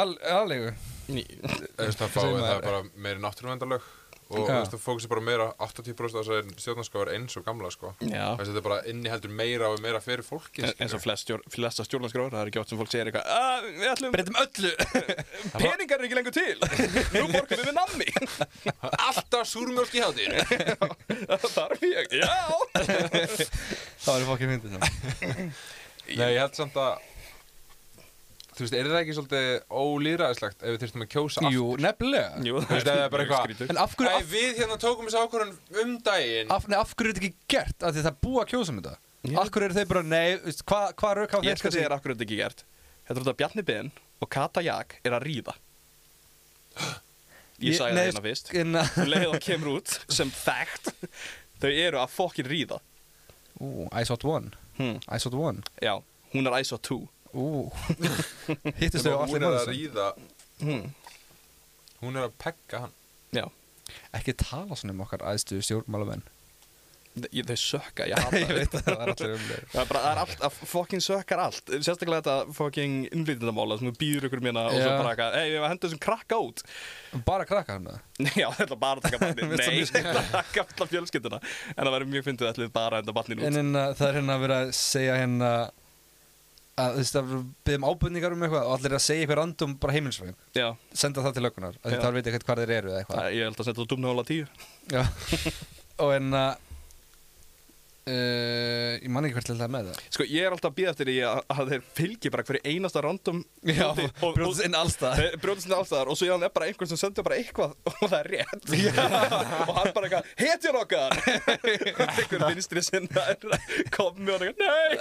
Speaker 1: al, aðlegu?
Speaker 2: Ný
Speaker 3: þú veist það
Speaker 1: Sem
Speaker 3: fáið það
Speaker 1: er-
Speaker 3: er bara meiri náttúruvendarlög og þú
Speaker 1: Já.
Speaker 3: veist það fókusir bara meira 80% af þessari stjórnarskóð er eins og gamla sko
Speaker 2: Já.
Speaker 3: Þú veist, þetta er bara inniheldur meira og er meira fyrir fólki
Speaker 2: En- eins og flest stjór, flesta stjórnarskrár, það er ekki oft sem fólk segir eitthvað "Ah, við ætlum,
Speaker 1: Breytum öllu
Speaker 2: peningar er ekki lengur til nú borgum við með nammi
Speaker 3: alltaf súrmjölk í hátir
Speaker 2: það þarf ég, já
Speaker 1: Það eru fokkið myndið það
Speaker 3: Nei, ég held samt að Þú veist, er það ekki svolítið ólýraðislegt ef við þyrstum að kjósa
Speaker 1: Jú, nefnilega
Speaker 2: Jú,
Speaker 3: Þú veist, það er bara eitthvað-
Speaker 2: skrítið.
Speaker 1: En af
Speaker 3: aftur?
Speaker 1: hverju,
Speaker 3: Æ,
Speaker 1: af,
Speaker 3: við hérna tókum þessu ákvörðun um daginn
Speaker 1: af, nei, af hverju er þetta ekki gert? Af því það er búið að kjósa um þetta
Speaker 2: Ég-
Speaker 1: Af hverju eru þeir bara, nei, þú veist, hvað hva rauk á
Speaker 2: ég skal segja þér af hverju þetta er ekki gert þetta er út af Bjarni Ben og Kata Jak er að ríða ég sagði það hérna fyrst
Speaker 1: Inna,
Speaker 2: um leið og kemur út sem fact þau eru að fokkin ríða
Speaker 1: ú, I saw one
Speaker 2: hm.
Speaker 1: I saw one
Speaker 2: já, hún er ISO 2
Speaker 1: Ú, hittist þau
Speaker 3: Nema
Speaker 1: á allir
Speaker 3: Hún er að
Speaker 1: maður
Speaker 3: ríða
Speaker 2: hm.
Speaker 3: Hún er að pegga hann
Speaker 2: já
Speaker 1: Ekki tala svona um okkar æðstu stjórnmálamenn
Speaker 2: Þ- þau sökka, ég hata
Speaker 1: Ég
Speaker 2: þau
Speaker 1: veit að það er allir umlega
Speaker 2: Það er bara, það er allt, að fucking sökkar allt Sérstaklega þetta fucking innflytendamála sem þú býður ykkur mérna og svo
Speaker 1: Já.
Speaker 2: bara eitthvað Ei, ég var að henda þessum krakka út
Speaker 1: Bara krakkar hérna? með það
Speaker 2: Nei, Já, þetta er bara að taka barnið
Speaker 1: Mér finnst það mjög
Speaker 2: Nei, þetta er að taka alla fjölskylduna En það væri mjög fyndið ætlið bara að henda barnið
Speaker 1: En
Speaker 2: út
Speaker 1: hérna, það er hérna að vera að segja hérna að þú veist að byggjum ábyrningar um eitthvað og allir eru að segja eitthvað random bara heimilsfæðin
Speaker 2: Já,
Speaker 1: senda það til löggunar
Speaker 2: Já.
Speaker 1: það veit ekkert hvað þeir eru eða eitthvað
Speaker 2: það, ég held að setja þú dumna hóla tíu
Speaker 1: Já. og en að uh, ég man ekki hvert til það er með það
Speaker 2: Sko, ég er alltaf að býða eftir því að, að þeir fylgi bara hverju einasta random dóti
Speaker 1: Já,
Speaker 2: og- og-
Speaker 1: brjóðs inn alls það
Speaker 2: Þeir brjóðast inn allstaðar og svo ég er bara einhvern sem sendur bara eitthvað og það er rétt og hann bara eitthvað, hetjan okkar einhver vinstri sinna kom með hann eitthvað, nei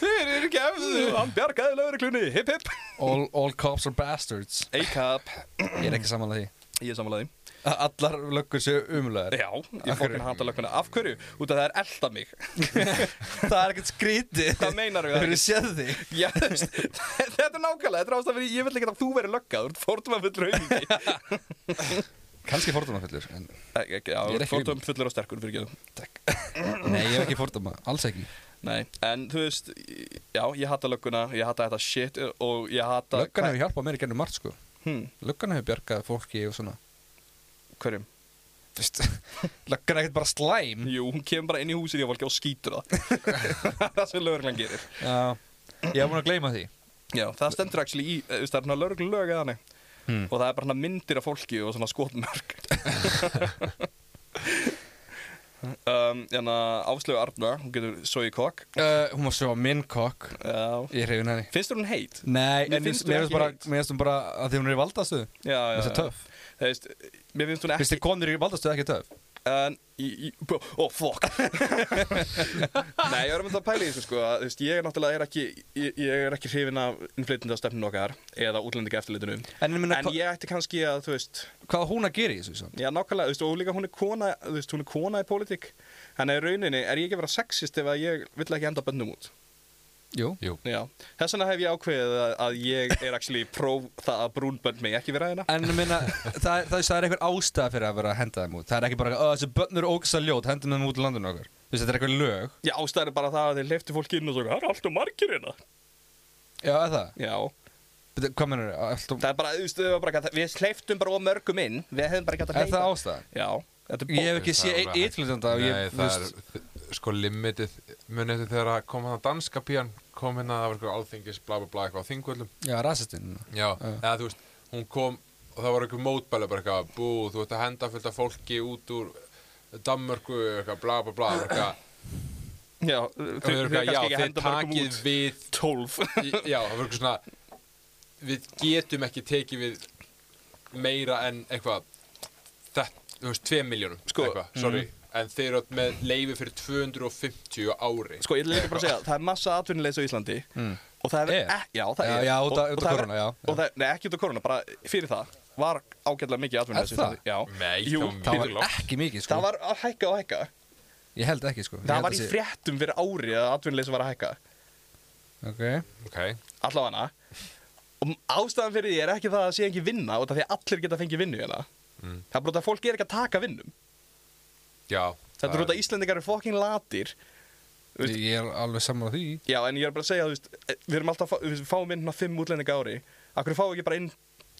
Speaker 2: þeir eru ekki efðu hann bjargaði lögreglunni, hip hip
Speaker 1: all, all cops are bastards
Speaker 2: A-cup,
Speaker 1: Ég er ekki samanlega því
Speaker 2: ég er samanlega því
Speaker 1: að allar löggur séu umlegar
Speaker 2: já, ég
Speaker 1: Af hverju?
Speaker 2: fokkin hata lögguna, af hverju? út af það er elda mig,
Speaker 1: Það er ekkert skrítið
Speaker 2: hvað meinar
Speaker 1: Það
Speaker 2: við
Speaker 1: eru séð þig
Speaker 2: Já, þú veist, þetta er nákvæmlega, þetta er ástæðan fyrir, ég vil ekki að þú verið löggað, þú ert fórtumafull raumingi.
Speaker 1: Kannski fordómafullur en...
Speaker 2: Já,
Speaker 1: Ég er ekki
Speaker 2: fórtumafullur og sterkur fyrir
Speaker 1: Nei, ég er ekki fordóma, alls ekki
Speaker 2: Nei, en þú veist, já, ég hata lögguna, ég hata þetta shit og ég hata...
Speaker 1: Löggan hefur hjálpað mér í gennum margt sko
Speaker 2: Hmm,
Speaker 1: Löggan hefur bjargað fólki og svona
Speaker 2: hverjum?
Speaker 1: Vist, Löggan er ekkert bara slæm
Speaker 2: Jú, hún kemur bara inn í húsið í fólki og skýtur það. það er það sem lögreglan gerir.
Speaker 1: Já, ég hef búin að gleyma því
Speaker 2: Já, það stendur actually í, eh, þú veist, það er svona lögreglan lög eða nei.
Speaker 1: Hmm.
Speaker 2: Og það er bara svona myndir af fólki og svona skotmörk. um, en að Áslögu Arna, hún getur Sogi Kokk.
Speaker 1: uh, Hún var svo minn kokk
Speaker 2: Já.
Speaker 1: Ég hrifin henni
Speaker 2: Finnst þér hún heit?
Speaker 1: Nei,
Speaker 2: Mér
Speaker 1: en
Speaker 2: finnst hún
Speaker 1: mér finnst
Speaker 2: ekki Uh,
Speaker 1: bara,
Speaker 2: heit.
Speaker 1: mér finnst hún bara að því hún er í valdastöðu
Speaker 2: Já, já,
Speaker 1: Þessi
Speaker 2: já.
Speaker 1: töff
Speaker 2: Þú veist, mér finnst hún
Speaker 1: Finnst
Speaker 2: ekki...
Speaker 1: þið konur í valdastöðu ekki töff?
Speaker 2: En, í, í, bú- ó, fuck Nei, ég var um að pæla í þessu sko að, þú veist, Ég er náttúrulega er ekki Ég, ég er ekki hrifin af innflytjandi okkar Eða útlendinga eftirlitinu
Speaker 1: En, en,
Speaker 2: En ég ætti kannski að, þú veist
Speaker 1: hvað á hún að gera í þessu samt?
Speaker 2: Já, nákvæmlega, þú veist, og líka hún er kona Þú veist, hún er kona í pólitík Þannig að í rauninni er ég ekki að vera sexist Ef að ég vill ekki enda bönnum út
Speaker 1: Jú,
Speaker 2: Já, þess vegna hef ég ákveðið að, að ég er actually próf það að brúnbönd mig ekki vera hérna
Speaker 1: En ég minna, það, það, það er eitthvað ástæða fyrir að vera að henda þeim út. Það er ekki bara, "Ö, þessi börn eru ógsa ljót, hendum þeim út í landinu okkar. Þú veist, þetta er eitthvað lög.
Speaker 2: Já, ástæður bara það að þeir leiftu fólki inn og svo Það eru alltaf margir hérna
Speaker 1: Já, eða það.
Speaker 2: Já,
Speaker 1: Bíddu, Hvað mennur þau?
Speaker 2: Það er bara, þú veist, við, bara gata, við sleiftum bara of mörgum inn, við hefum bara gætt að
Speaker 1: Er það ástæðan?
Speaker 2: Já, þetta er
Speaker 1: Ég hef
Speaker 2: bóð.
Speaker 1: ekki séð einn ytlutanda og
Speaker 3: Nei,
Speaker 1: ég, þú
Speaker 3: það
Speaker 1: veist,
Speaker 3: er, sko, limitið Munið þetta þegar að kom hann að danska pían kom hérna, það var eitthvað alþingis, bla bla bla eitthvað á þingvöllum
Speaker 1: já, rasistinn.
Speaker 3: Já, eða þú veist, hún kom og það var eitthvað mótbæla bara eitthvað, bú, þú ert að henda fullt af fólki út úr Danmörku, eitthvað, bla bla bla eitthvað.
Speaker 2: Já,
Speaker 3: Og Þau eru eitthvað, já,
Speaker 2: að
Speaker 3: þið
Speaker 2: henda mörgum
Speaker 3: takið
Speaker 2: út
Speaker 3: við
Speaker 2: 12
Speaker 3: í- Já, það verður svona Við getum ekki tekið við meira en eitthvað þetta, þú veist, 2 miljónum
Speaker 2: Sko,
Speaker 3: eitthvað, sorry En þeir eru með leifi fyrir 250 á ári
Speaker 2: Sko, ég er líka bara að segja, það er massa atvinnulegs á Íslandi og
Speaker 1: Mm.
Speaker 2: það
Speaker 1: Er?
Speaker 2: er, e já, það
Speaker 1: Já,
Speaker 2: er
Speaker 1: já, út
Speaker 2: og,
Speaker 1: af- út af
Speaker 2: það er-
Speaker 1: korona, já, já.
Speaker 2: og það, Nei, ekki út af korona, bara fyrir það var ágætlega mikið atvinnulegs
Speaker 1: Er
Speaker 2: á
Speaker 1: það?
Speaker 2: Íslandi Já,
Speaker 3: Nei,
Speaker 2: Jú,
Speaker 3: það var
Speaker 1: Það
Speaker 3: Pítur
Speaker 1: var
Speaker 3: Lofts.
Speaker 1: ekki mikið, sko.
Speaker 2: það var að hækka og hækka
Speaker 1: Ég held ekki, sko. Ég
Speaker 2: Það
Speaker 1: held
Speaker 2: var
Speaker 1: að
Speaker 2: í
Speaker 1: sé-
Speaker 2: fréttum fyrir ári að atvinnulegs var að hækka
Speaker 1: Ok.
Speaker 3: Ok,
Speaker 2: allavega og ástæðan fyrir því er ekki það að sé ekki vinna og það því að allir geta fengið vinnu hérna það er bara út af að fólk er ekki að taka vinnum
Speaker 3: já
Speaker 2: þetta er út af að Íslendingar eru fokkin latir Veist-
Speaker 1: Ég er alveg saman á því.
Speaker 2: já en ég er bara að segja þú veist, eh, við erum alltaf að fá- við fáum inn svona fimm útlendinga á ári akkur fáum við ekki bara inn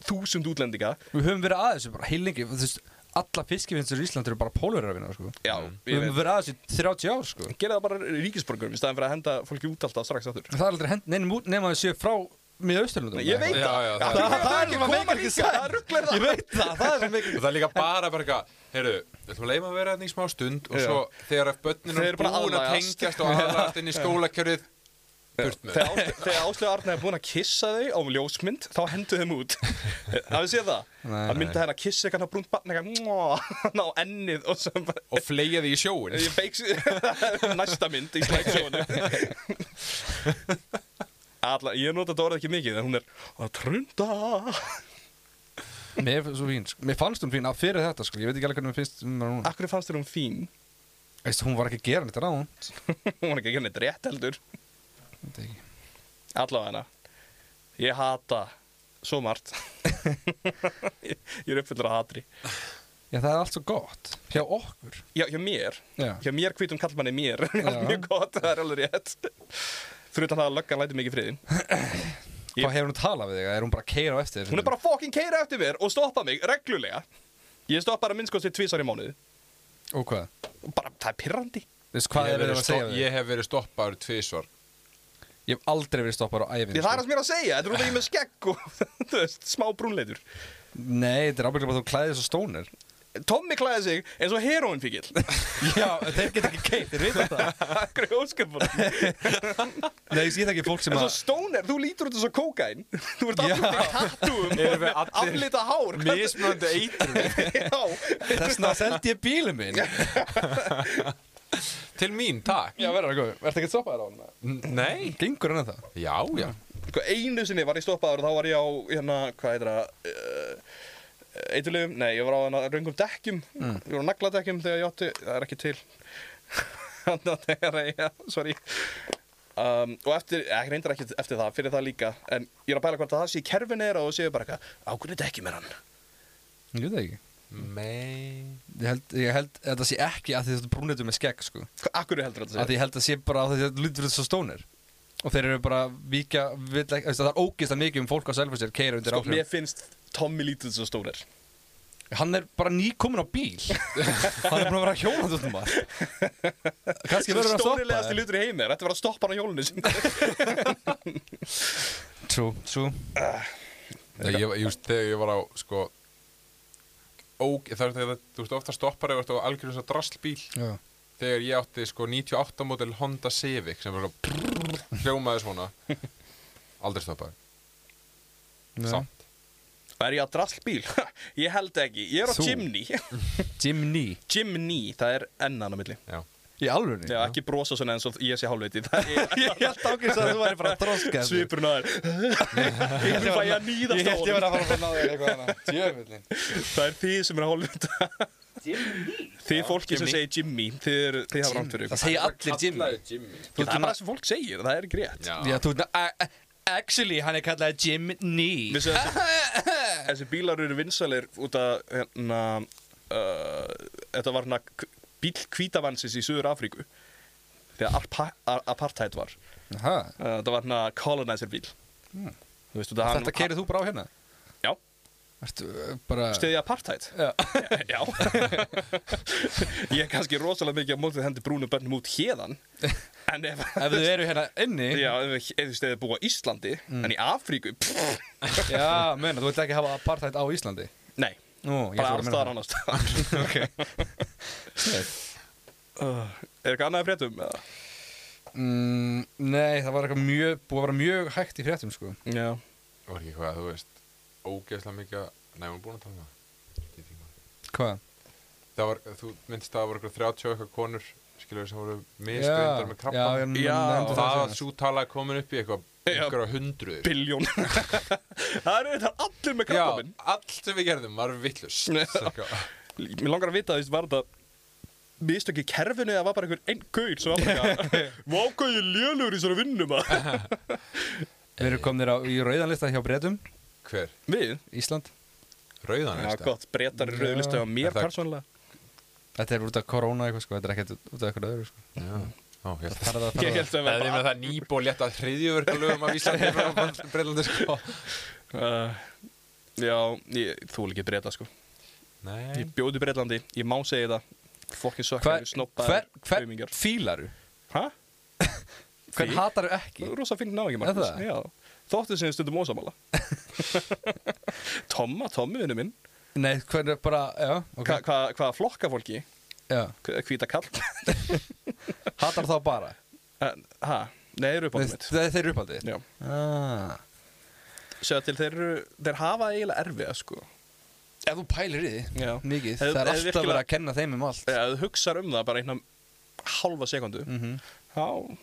Speaker 2: þúsund útlendinga
Speaker 1: Við höfum verið aðeins, um bara heilingi, þú veist, alla fiskifinnstur í Ísland eru bara pólverðarvinnar, sko.
Speaker 2: já,
Speaker 1: Við
Speaker 2: ég
Speaker 1: höfum
Speaker 2: veit
Speaker 1: verið aðeins í 30 ár, sko.
Speaker 2: gera það bara ríkisborgurum í staðan fyrir að henda fólki út alltaf strax aftur
Speaker 1: Það er aldrei hend neinum út nema að séu frá miða austurlundum.
Speaker 2: ég veit
Speaker 3: Já,
Speaker 2: það
Speaker 3: já,
Speaker 2: það,
Speaker 3: það-
Speaker 2: það, það er
Speaker 1: það
Speaker 2: ekki að koma líka það rugglar það ég veit það, það er sem mikil
Speaker 3: Og það er líka bara bara eitthvað, heyrðu, við ætlum að leima að vera hérna í smá stund og
Speaker 2: Já.
Speaker 3: svo þegar að börninu
Speaker 2: Þeir
Speaker 3: er
Speaker 2: eru bara
Speaker 3: búin að
Speaker 2: aðlagast.
Speaker 3: tengjast og aðlast inn í skólakjörið, burt með.
Speaker 2: Þegar Ás- þegar Áslaug Arna er búin að kissa þau á ljósmynd, þá hendu þeim út. Hafið séð það?
Speaker 1: Nei,
Speaker 2: Það myndi henn að kissa eitthvað brúnt barn, eitthvað ná ennið og svo bara...
Speaker 3: Og fleigja því í sjóin.
Speaker 2: Ég feiks næsta mynd í slæksjónu. Alla, ég nota þetta orðið ekki mikið, en hún er að trunda.
Speaker 1: Mér, finnst svo fín, sko. Mér fannst hún fín að fyrir þetta, sko. Ég veit ekki alveg hvernig mér finnst um hana núna.
Speaker 2: Akkur fannst þér hún fín?
Speaker 1: Veist, hún var ekki að gera um. nýtt ráðan.
Speaker 2: Hún var ekki ekki neitt rétt heldur. Allavega hennar. Ég hata svo margt. ég, ég er uppfyllur af hatri.
Speaker 1: Já, það er allt svo gott. Hjá okkur.
Speaker 2: Já, hjá mér.
Speaker 1: Já.
Speaker 2: Hjá mér hvítum kallmanni mér er allt
Speaker 1: Já.
Speaker 2: mjög gott, það er alveg rétt Fyrir utan það að löggan læti mikið friðin Ég-
Speaker 1: Hvað hefur hún talað við þig? Er hún bara að keira á eftir þér?
Speaker 2: Hún er bara fokkin keira eftir mér og stoppa mig reglulega Ég stoppa að minnskóðsvið tvisar í mánuði
Speaker 1: Og hvað?
Speaker 2: Bara, það er pirrandi
Speaker 1: Veist, hvað
Speaker 3: Ég hef
Speaker 1: er það
Speaker 3: verið
Speaker 1: að segja
Speaker 3: stopp-
Speaker 1: við þig?
Speaker 3: Ég hef verið stoppaður tvisvar.
Speaker 1: Ég hef aldrei verið stoppar á sko. æfinni.
Speaker 2: Því það er það sem ég er að segja, þetta er út af ég er með skegg og þú veist, smá brúnleitur
Speaker 1: Nei, þetta er ábygglega bara að þú klæðir svo stónir.
Speaker 2: Tommy klæði sig eins og heroin fíkil
Speaker 1: Já, þeir geta ekki keitt, þeir vita það.
Speaker 2: Akkur í ósköpunum
Speaker 1: Nei, ég sé það ekki fólk sem
Speaker 2: En svo
Speaker 1: að...
Speaker 2: stoner, þú lítur út eins og kókain Þú ert
Speaker 1: Já.
Speaker 2: alltaf með
Speaker 3: Erum við
Speaker 2: tattúum
Speaker 3: allir-
Speaker 2: Aflita hár
Speaker 3: Mismöndu eitur
Speaker 2: Já,
Speaker 1: Þessna seldi ég bílum minn.
Speaker 3: Til mín, takk.
Speaker 1: Já, verður það góð. Verður það ekki að stoppa þér á hann?
Speaker 3: Nei.
Speaker 1: Gengur hann að það?
Speaker 3: Já, já.
Speaker 2: Sko, einu sinni var ég stoppaður og þá var ég á, hérna, hvað heitir það, uh, eiturlegum, nei, ég var á hérna röngum dekkjum,
Speaker 1: Mm.
Speaker 2: ég var á nagladekkjum þegar ég átti, það er ekki til, þannig að þegar ég, já, sorry, um, og eftir, ekki reyndar ekki eftir það, fyrir það líka, en ég er að pæla hvort að það sé í kerfinu er og séu bara eitthvað, á hvernig dekkjum er hann?
Speaker 1: Ég veit það ekki.
Speaker 3: Mei.
Speaker 1: Ég held, ég held að það sé ekki að því þetta brúnitum með skegg, sko.
Speaker 2: Hva- Af hverju heldur þetta
Speaker 1: Að
Speaker 2: að segja?
Speaker 1: ég held að sé bara að þetta lýtur þetta svo stónir. Og þeir eru bara vika, vill ekki, veist, það er ógist að mikið um fólk á selfastér keira undir
Speaker 2: Sko,
Speaker 1: áhrifum.
Speaker 2: mér finnst Tommy lítið svo stórir.
Speaker 1: Hann er bara nýkomin á bíl. hann er búin að vera hjónand út um að. Kanski verður hann að stoppa
Speaker 2: Stórilegast í
Speaker 1: það.
Speaker 2: lutur í heimi, þetta var að stoppa hann á hjólunni sinni.
Speaker 1: Trú, trú.
Speaker 3: Nei, ég, ég, just, þegar ég var á, sko, óg, það er þegar þú veist ofta stoppar eða þú ert á algjörðum svo draslbíl.
Speaker 1: Já.
Speaker 3: Þegar ég átti, sko, 98 mótil Honda Civic sem var hljómaði svona. Aldrei stoppaði. Samt.
Speaker 2: Er ég að drallbíl? ég held ekki, ég er á
Speaker 1: Þú.
Speaker 2: Jimny.
Speaker 1: Jimny.
Speaker 2: Jimny, það er ennan á milli
Speaker 3: Já.
Speaker 1: Í alvörni?
Speaker 2: Já, ekki brosa svona eins og ég sé hálfveiti Það
Speaker 1: Ég
Speaker 2: er
Speaker 1: held ákveðs að þú væri bara að droska
Speaker 2: svipurinn á þér Þú fæ ég að nýðast á honum
Speaker 1: að fara að ná þér eitthvað annað. Djöfullin.
Speaker 2: Það er þið sem er hálfveita Þið fólki sem segir Jimmy Þið, er, þið hafa rámt fyrir
Speaker 1: Það
Speaker 2: ykkur
Speaker 1: segja allir Jimmy.
Speaker 3: Kallaði Jimmy.
Speaker 2: Það er bara það sem fólk segir, það er ekki rétt
Speaker 3: Já.
Speaker 1: Já, þú veit, a- a- actually, hann er kallað Jimny.
Speaker 2: Vissu að þessi, þessi bílar eru vinsalir út að hérna, uh, þetta var hérna k- bíl kvítavansis í Suður Afríku þegar arpa, a- apartheid var uh,
Speaker 1: Aha.
Speaker 2: þetta var hérna colonizer bíl Þú veist, þetta,
Speaker 1: Hmm. Þetta keirið þú bara á hérna?
Speaker 2: Já,
Speaker 1: Ertu uh, bara...
Speaker 2: stiði apartheid
Speaker 1: Já.
Speaker 2: Já Ég er kannski rosalega mikið á mótið hendi brúnum börnum út hérðan En ef
Speaker 1: Ef þau eru hérna inni, já,
Speaker 2: Já, ef þú stiði búa á Íslandi
Speaker 1: Hmm.
Speaker 2: En í Afríku pff,
Speaker 1: meina, þú vilt ekki hafa apartheid á Íslandi?
Speaker 2: Nei,
Speaker 1: Nú, ég
Speaker 2: bara
Speaker 1: ætla að
Speaker 2: allstaðar
Speaker 1: meina
Speaker 2: annars Ok Uh, er eitthvað annað í fréttum? eða?
Speaker 1: Mm, nei, það var eitthvað mjög, búið að vera mjög hægt í fréttum sko.
Speaker 2: Já.
Speaker 3: Það var ekki hvað, þú veist, ógeðslega mikið að, nei, hún er búin að tala um það. Ég get ekki maður.
Speaker 1: Hvað?
Speaker 3: Það var, þú myndist að það voru eitthvað 30 og eitthvað konur, skilur við, sem voru
Speaker 1: Já,
Speaker 3: misgrindar með
Speaker 1: já,
Speaker 3: krabba.
Speaker 1: ég
Speaker 2: Já,
Speaker 1: nefndi
Speaker 3: og
Speaker 1: það
Speaker 3: það
Speaker 1: síðan.
Speaker 3: að svo tala er komin upp í eitthvað,
Speaker 2: Já.
Speaker 3: einhverja hundruður.
Speaker 2: Biljón. það eru þetta allir með
Speaker 3: Já,
Speaker 2: krabbaminn.
Speaker 3: allt sem við gerðum var vittlust.
Speaker 2: Já. Mér langar að vita að því var þetta mistök í kerfinu eða var bara einhver einn gaur sem var bara eitthvað Vákvað ég er lélugur í svona vinnu maður.
Speaker 1: Við erum komnir á, í rauðanlista hjá Bretum,
Speaker 3: Hver?
Speaker 2: Við?
Speaker 1: Ísland.
Speaker 3: Rauðan,
Speaker 2: Já, gott, breytar í rauðu listu á mér
Speaker 3: Er það-
Speaker 2: persónulega.
Speaker 1: Þetta er út af korona eitthvað sko, þetta er ekkert út af eitthvað öðru sko.
Speaker 3: Já, Ó, ég held að-
Speaker 1: Farða,
Speaker 2: Ég
Speaker 1: farða.
Speaker 2: held að
Speaker 3: Það
Speaker 2: við
Speaker 3: er með
Speaker 2: bara...
Speaker 3: það nýbó létt að hriðjuverkulögum að vísa til frá Breitlandi sko.
Speaker 2: Uh, já, ég, þú vil ekki breyta sko.
Speaker 3: Nei.
Speaker 2: Ég bjóði Breitlandi, ég má segja það. Fokkin sökkar, snoppaðar,
Speaker 1: hver, hvern
Speaker 2: aumingar.
Speaker 1: fílaru?
Speaker 2: Hæ?
Speaker 1: Hvern
Speaker 2: Þig?
Speaker 1: hataru ekki?
Speaker 2: Rosa fín náðingi,
Speaker 1: Er
Speaker 2: Markus.
Speaker 1: það?
Speaker 2: Já. Þóttu sem stundum ósamála. Tomma, Tommi vinnu minn.
Speaker 1: Nei, hvern er bara, já, ok.
Speaker 2: Hva- Hvað hva, flokka fólki?
Speaker 1: Já.
Speaker 2: Hvíta kall?
Speaker 1: Hatar þá bara?
Speaker 2: En, Hæ? Nei, eru upp á
Speaker 1: Nei,
Speaker 2: mitt.
Speaker 1: Þeir þeir eru uppaldið?
Speaker 2: Já.
Speaker 1: Ah.
Speaker 2: Sjá til þeir, eru- þeir hafa eiginlega erfiða sko.
Speaker 1: Ef þú pælir í því,
Speaker 2: Já.
Speaker 1: mikið,
Speaker 2: Ef-
Speaker 1: það er
Speaker 2: ef
Speaker 1: alltaf
Speaker 2: virkilega-
Speaker 1: verið að kenna þeim um allt.
Speaker 2: Þegar þú hugsar um það bara einna halva sekundu,
Speaker 1: Mhm.
Speaker 2: þá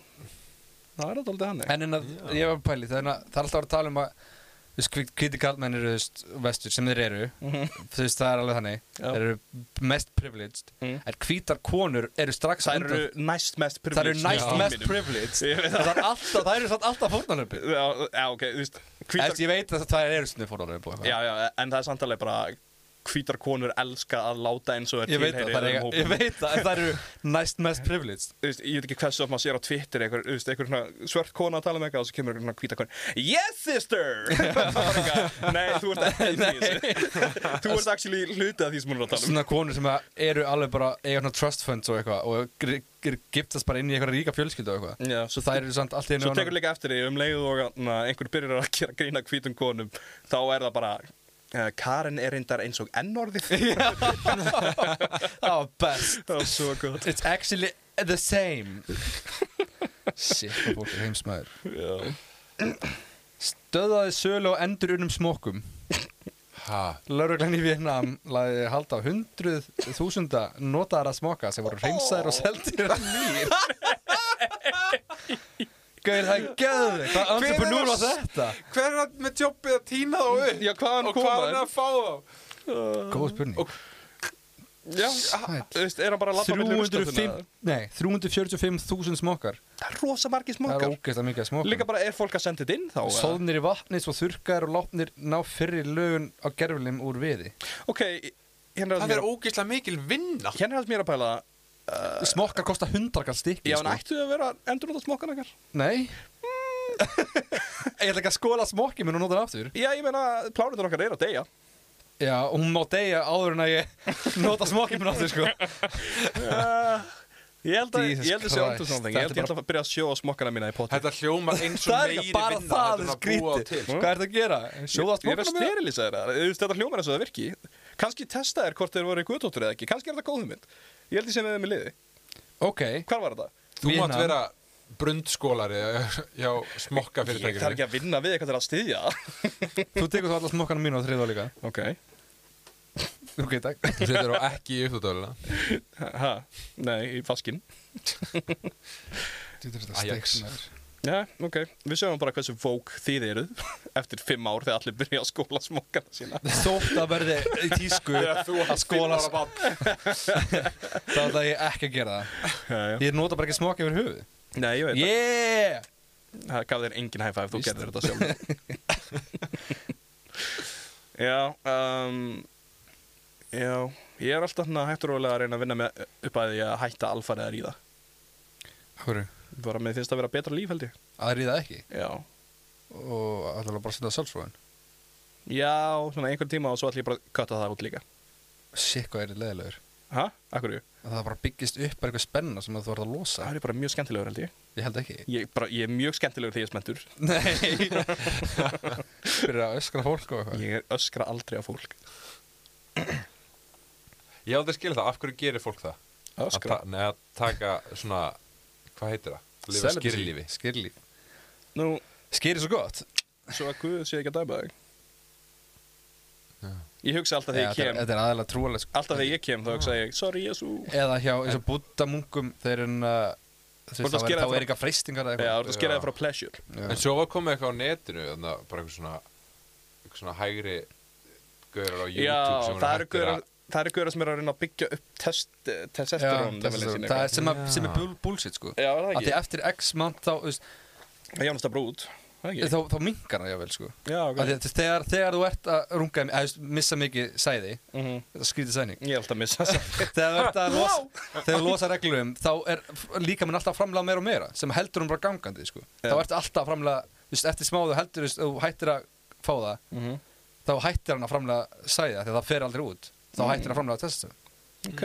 Speaker 2: það er þetta aldrei hann.
Speaker 1: En en að, ég var að pæli, það er, að, það er alltaf að tala um að þú veist, hvít- hvíti kallmenn eru þú veist, vestur sem þeir eru,
Speaker 2: Mhm.
Speaker 1: þú veist, það er alveg þannig,
Speaker 2: Mm. Já.
Speaker 1: þeir eru mest privileged,
Speaker 2: Mm.
Speaker 1: en hvítar konur eru strax á
Speaker 2: Það eru
Speaker 1: undan-
Speaker 2: næst mest
Speaker 1: það eru
Speaker 2: privileged.
Speaker 1: næst
Speaker 2: í
Speaker 1: mest
Speaker 2: heiminum.
Speaker 1: privileged,
Speaker 2: Ég veit
Speaker 1: það er alltaf, það eru samt alltaf fórnarlöpið.
Speaker 2: Já, já, ok, þú veist, hvítar,
Speaker 1: Eftir ég veit að það eru svona fórnarlöpið.
Speaker 2: já, já, en það er samtalið bara hvítar konur elska að láta eins og er
Speaker 1: Ég veit að
Speaker 2: tilheyri
Speaker 1: það
Speaker 2: öðrum
Speaker 1: eru,
Speaker 2: hópum.
Speaker 1: ég veit að það eru næst mest privileged.
Speaker 2: Þú veist, ég veit ekki hversu að maður sér á Twitter einhver, þú veist, einhver svona svört kona að tala með eitthvað og svo kemur einhver svona hvíta kona Yes sister! Bara eitthvað, Nei, þú ert ekki í þessu Þú ert actually hluti af því sem hún er að tala um
Speaker 1: Svona konur sem að eru alveg bara eiga svona trust funds og eitthvað og gr- gr- giftast bara inn í eitthvað ríka fjölskyldu og eitthvað.
Speaker 2: Já,
Speaker 1: Svo það eru samt allt í einu
Speaker 2: Mm. Svo
Speaker 1: orðnar-
Speaker 2: tekur líka eftir því um leið og na, einhver byrjar að gera grína hvítum konum þá er það bara uh, Karen er reyndar eins og ennorðið
Speaker 1: Það var "Oh, best
Speaker 2: Það er svo gott
Speaker 1: It's actually the same Shit, hvað fólk er heimsmaður
Speaker 2: Já.
Speaker 1: Stöðaði sölu á endurunum smokkum
Speaker 3: Ha,
Speaker 1: Lauruglan í Vietnam laði hald á hundruð þúsunda notaðara smoka sem voru hreinsaðir og seldir að nýr Gauðir, það er gæðvig Hvað
Speaker 3: Hver er
Speaker 1: entreprenúr á
Speaker 3: að s-
Speaker 1: þetta?
Speaker 3: hver er það með jobbið að týna þá upp?
Speaker 2: Já, hvaðan
Speaker 3: og hvað
Speaker 2: koma
Speaker 3: er hann
Speaker 2: þær?
Speaker 3: að fá þá?
Speaker 1: Góð spurning
Speaker 3: Og-
Speaker 2: Já, þú veist, er hann bara að labba milli ruslatunnuna?
Speaker 1: 305 Nei, 345.000 smokkar
Speaker 2: Það er rosa
Speaker 1: Það
Speaker 2: margir
Speaker 1: er
Speaker 2: smokkar
Speaker 1: ógeðslega mikið að smokkar
Speaker 2: Líka bara er fólk að senda þetta inn þá eða?
Speaker 1: Sóðnir í vatni, svo þurrkaðir og látnir ná fyrri lögun á gerfilim úr viði.
Speaker 2: Ok, hérna er
Speaker 3: Það er
Speaker 2: allt mér,
Speaker 3: ógeðslega mikil vinna.
Speaker 2: hérna er allt mér að pæla
Speaker 1: Smokkar kosta hundrakall stykki,
Speaker 2: Eh.
Speaker 1: sko.
Speaker 2: Já, en ættu að vera endur út á smokkan ekkar
Speaker 1: Nei. ég ætla ekki að skóla smokki minn og nota hann aftur.
Speaker 2: Já, ég meina, plánutur okkar er að deyja
Speaker 1: Já, og hún má deyja áður en að ég nota smokki minn aftur, sko.
Speaker 2: Eh, Ég held að,
Speaker 1: Jesus
Speaker 2: ég held að sé
Speaker 1: Christ,
Speaker 2: ondur svona Ég held
Speaker 1: þetta
Speaker 2: ég
Speaker 1: er
Speaker 2: ætla að byrja að sjóa smokkana mína í potti
Speaker 3: Þetta hljómar eins og
Speaker 1: það er
Speaker 3: meiri
Speaker 1: ekki bara
Speaker 3: vinna
Speaker 1: það er
Speaker 3: heldur en að búa
Speaker 1: skrítið.
Speaker 3: til.
Speaker 1: Hvað er það að gera? Sjóða
Speaker 2: Ég er að
Speaker 1: smokkana minn?
Speaker 2: sterilisa þér það, þetta hljómar eins og það virki Kanski testa þér hvort þeir voru í guðdóttur eða ekki Kanski er þetta góð hugmynd Ég held ég sem við með liði
Speaker 1: Ok.
Speaker 2: Hvar var þetta?
Speaker 3: Þú mátt
Speaker 1: Vietnam.
Speaker 3: vera brundskólari eh, hjá smokka
Speaker 2: Ég þarf
Speaker 3: fyrirtækinu.
Speaker 2: ekki að vinna við eitthvað til að styðja
Speaker 1: Þú tekur þá alla smokkana mín og þriða líka.
Speaker 2: Ok
Speaker 1: Ok, takk.
Speaker 3: Þú setur á ekki í uppdóttöðuna.
Speaker 2: ha, Nei, í faskin
Speaker 3: Ajax.
Speaker 2: Já, ok Við sjáum bara hversu vók þið eruð Eftir fimm ár þegar allir byrja að skóla smokkana sína
Speaker 1: Þótt að verði í tísku að skóla
Speaker 3: ára bann.
Speaker 1: þá ætla ég ekki að gera það.
Speaker 2: já,
Speaker 1: Ég nota bara ekki smokki yfir höfuð.
Speaker 2: Nei, ég veit
Speaker 1: Yeah!
Speaker 2: það Það gaf þér engin hæfæf, þú
Speaker 1: Víst.
Speaker 2: gerðir þetta sjálf Já um, Já Ég er alltaf hérna hægt og rólega að reyna að vinna með upp að því að hætta alfarið að ríða
Speaker 1: Hverju?
Speaker 2: Bara með finnst að vera betra líf held ég
Speaker 1: Að ríða ekki.
Speaker 2: Já
Speaker 1: og ætlaði bara að setja sjálfsfróðin
Speaker 2: Já, svona einhvern tíma og svo ætlum ég bara að kötta það út líka
Speaker 1: Sikk hvað er þið leðilegur
Speaker 2: Hæ? Akkurju?
Speaker 1: Það bara byggist upp bara eitthvað spenna sem þú ert að losa
Speaker 2: Það er bara mjög skemmtilegur held ég
Speaker 1: Ég held ekki
Speaker 2: Ég, bara, ég er mjög skemmtilegur þegar ég er smentur
Speaker 1: Nei Fyrir að öskra fólk og eitthvað
Speaker 2: Ég er öskra aldrei á fólk
Speaker 3: Ég aldrei skilja það, af hverju gerir fólk það? Að
Speaker 2: Öskra.
Speaker 3: ta- Nei, að taka svona, hvað heitir það? Lifa
Speaker 2: Celibacy.
Speaker 3: skýrlífi
Speaker 1: Skýrlíf.
Speaker 2: Nú,
Speaker 1: Skýr er svo gott.
Speaker 2: svo að Guð sé ekki að dæma þig. Ég hugsa alltaf
Speaker 1: Já,
Speaker 2: þegar ég
Speaker 1: Þetta er-
Speaker 2: kem,
Speaker 1: þetta er aðalega trúalega sko.
Speaker 2: alltaf þegar ég kem þá hugsa ég, sorry Jésu.
Speaker 1: Eða hjá eins og buddamungum þeir eru uh, þú
Speaker 2: Þú ert
Speaker 1: veist þá
Speaker 2: að
Speaker 1: er,
Speaker 2: skera
Speaker 1: þá
Speaker 2: frá-
Speaker 1: er eitthvað freystingar eða
Speaker 2: Já, þú
Speaker 1: eitthvað.
Speaker 2: ert að skera
Speaker 3: Já.
Speaker 2: það frá pleasure.
Speaker 3: En svo var komið eitthvað á netinu, þannig að bara eitthvað svona, eitthvað svona hægri gaurar á YouTube
Speaker 2: Já, það
Speaker 3: sem
Speaker 2: eru
Speaker 3: hættir
Speaker 2: gauðar það eru gauðar sem eru að reyna að byggja upp test, testosterón
Speaker 1: Já,
Speaker 2: levelin sín
Speaker 1: það er
Speaker 2: eitthvað.
Speaker 1: sem, að,
Speaker 3: Já.
Speaker 1: sem er bull, bullshit sko.
Speaker 2: Já, er það
Speaker 1: Af
Speaker 2: ekki?
Speaker 1: því eftir x mann þá, þú veist,
Speaker 2: Það er Jónas að brúð Það er
Speaker 1: þá,
Speaker 2: ekki?
Speaker 1: þá minkar það jável sko.
Speaker 2: Já,
Speaker 1: Af
Speaker 2: ok
Speaker 1: því að Þegar, þegar þú ert að runga, eða þú veist, missa mikið sæði,
Speaker 2: Mhm.
Speaker 1: þetta skrítið sæning,
Speaker 2: Ég er alltaf að missa það
Speaker 1: þegar þú ert að losa, þegar þú losa reglum þá er líka minn alltaf að framlega meira og meira sem heldur hún bara gangandi sko.
Speaker 2: Já.
Speaker 1: þá ertu alltaf að framlega, þú veist, eftir smá þú heldur þú veist, þú hættir að fá það
Speaker 2: Mhm.
Speaker 1: þá hættir hann að framlega sæða þegar það fer aldrei út þá
Speaker 2: Mm.
Speaker 1: hættir hann að framlega þessu
Speaker 2: Ok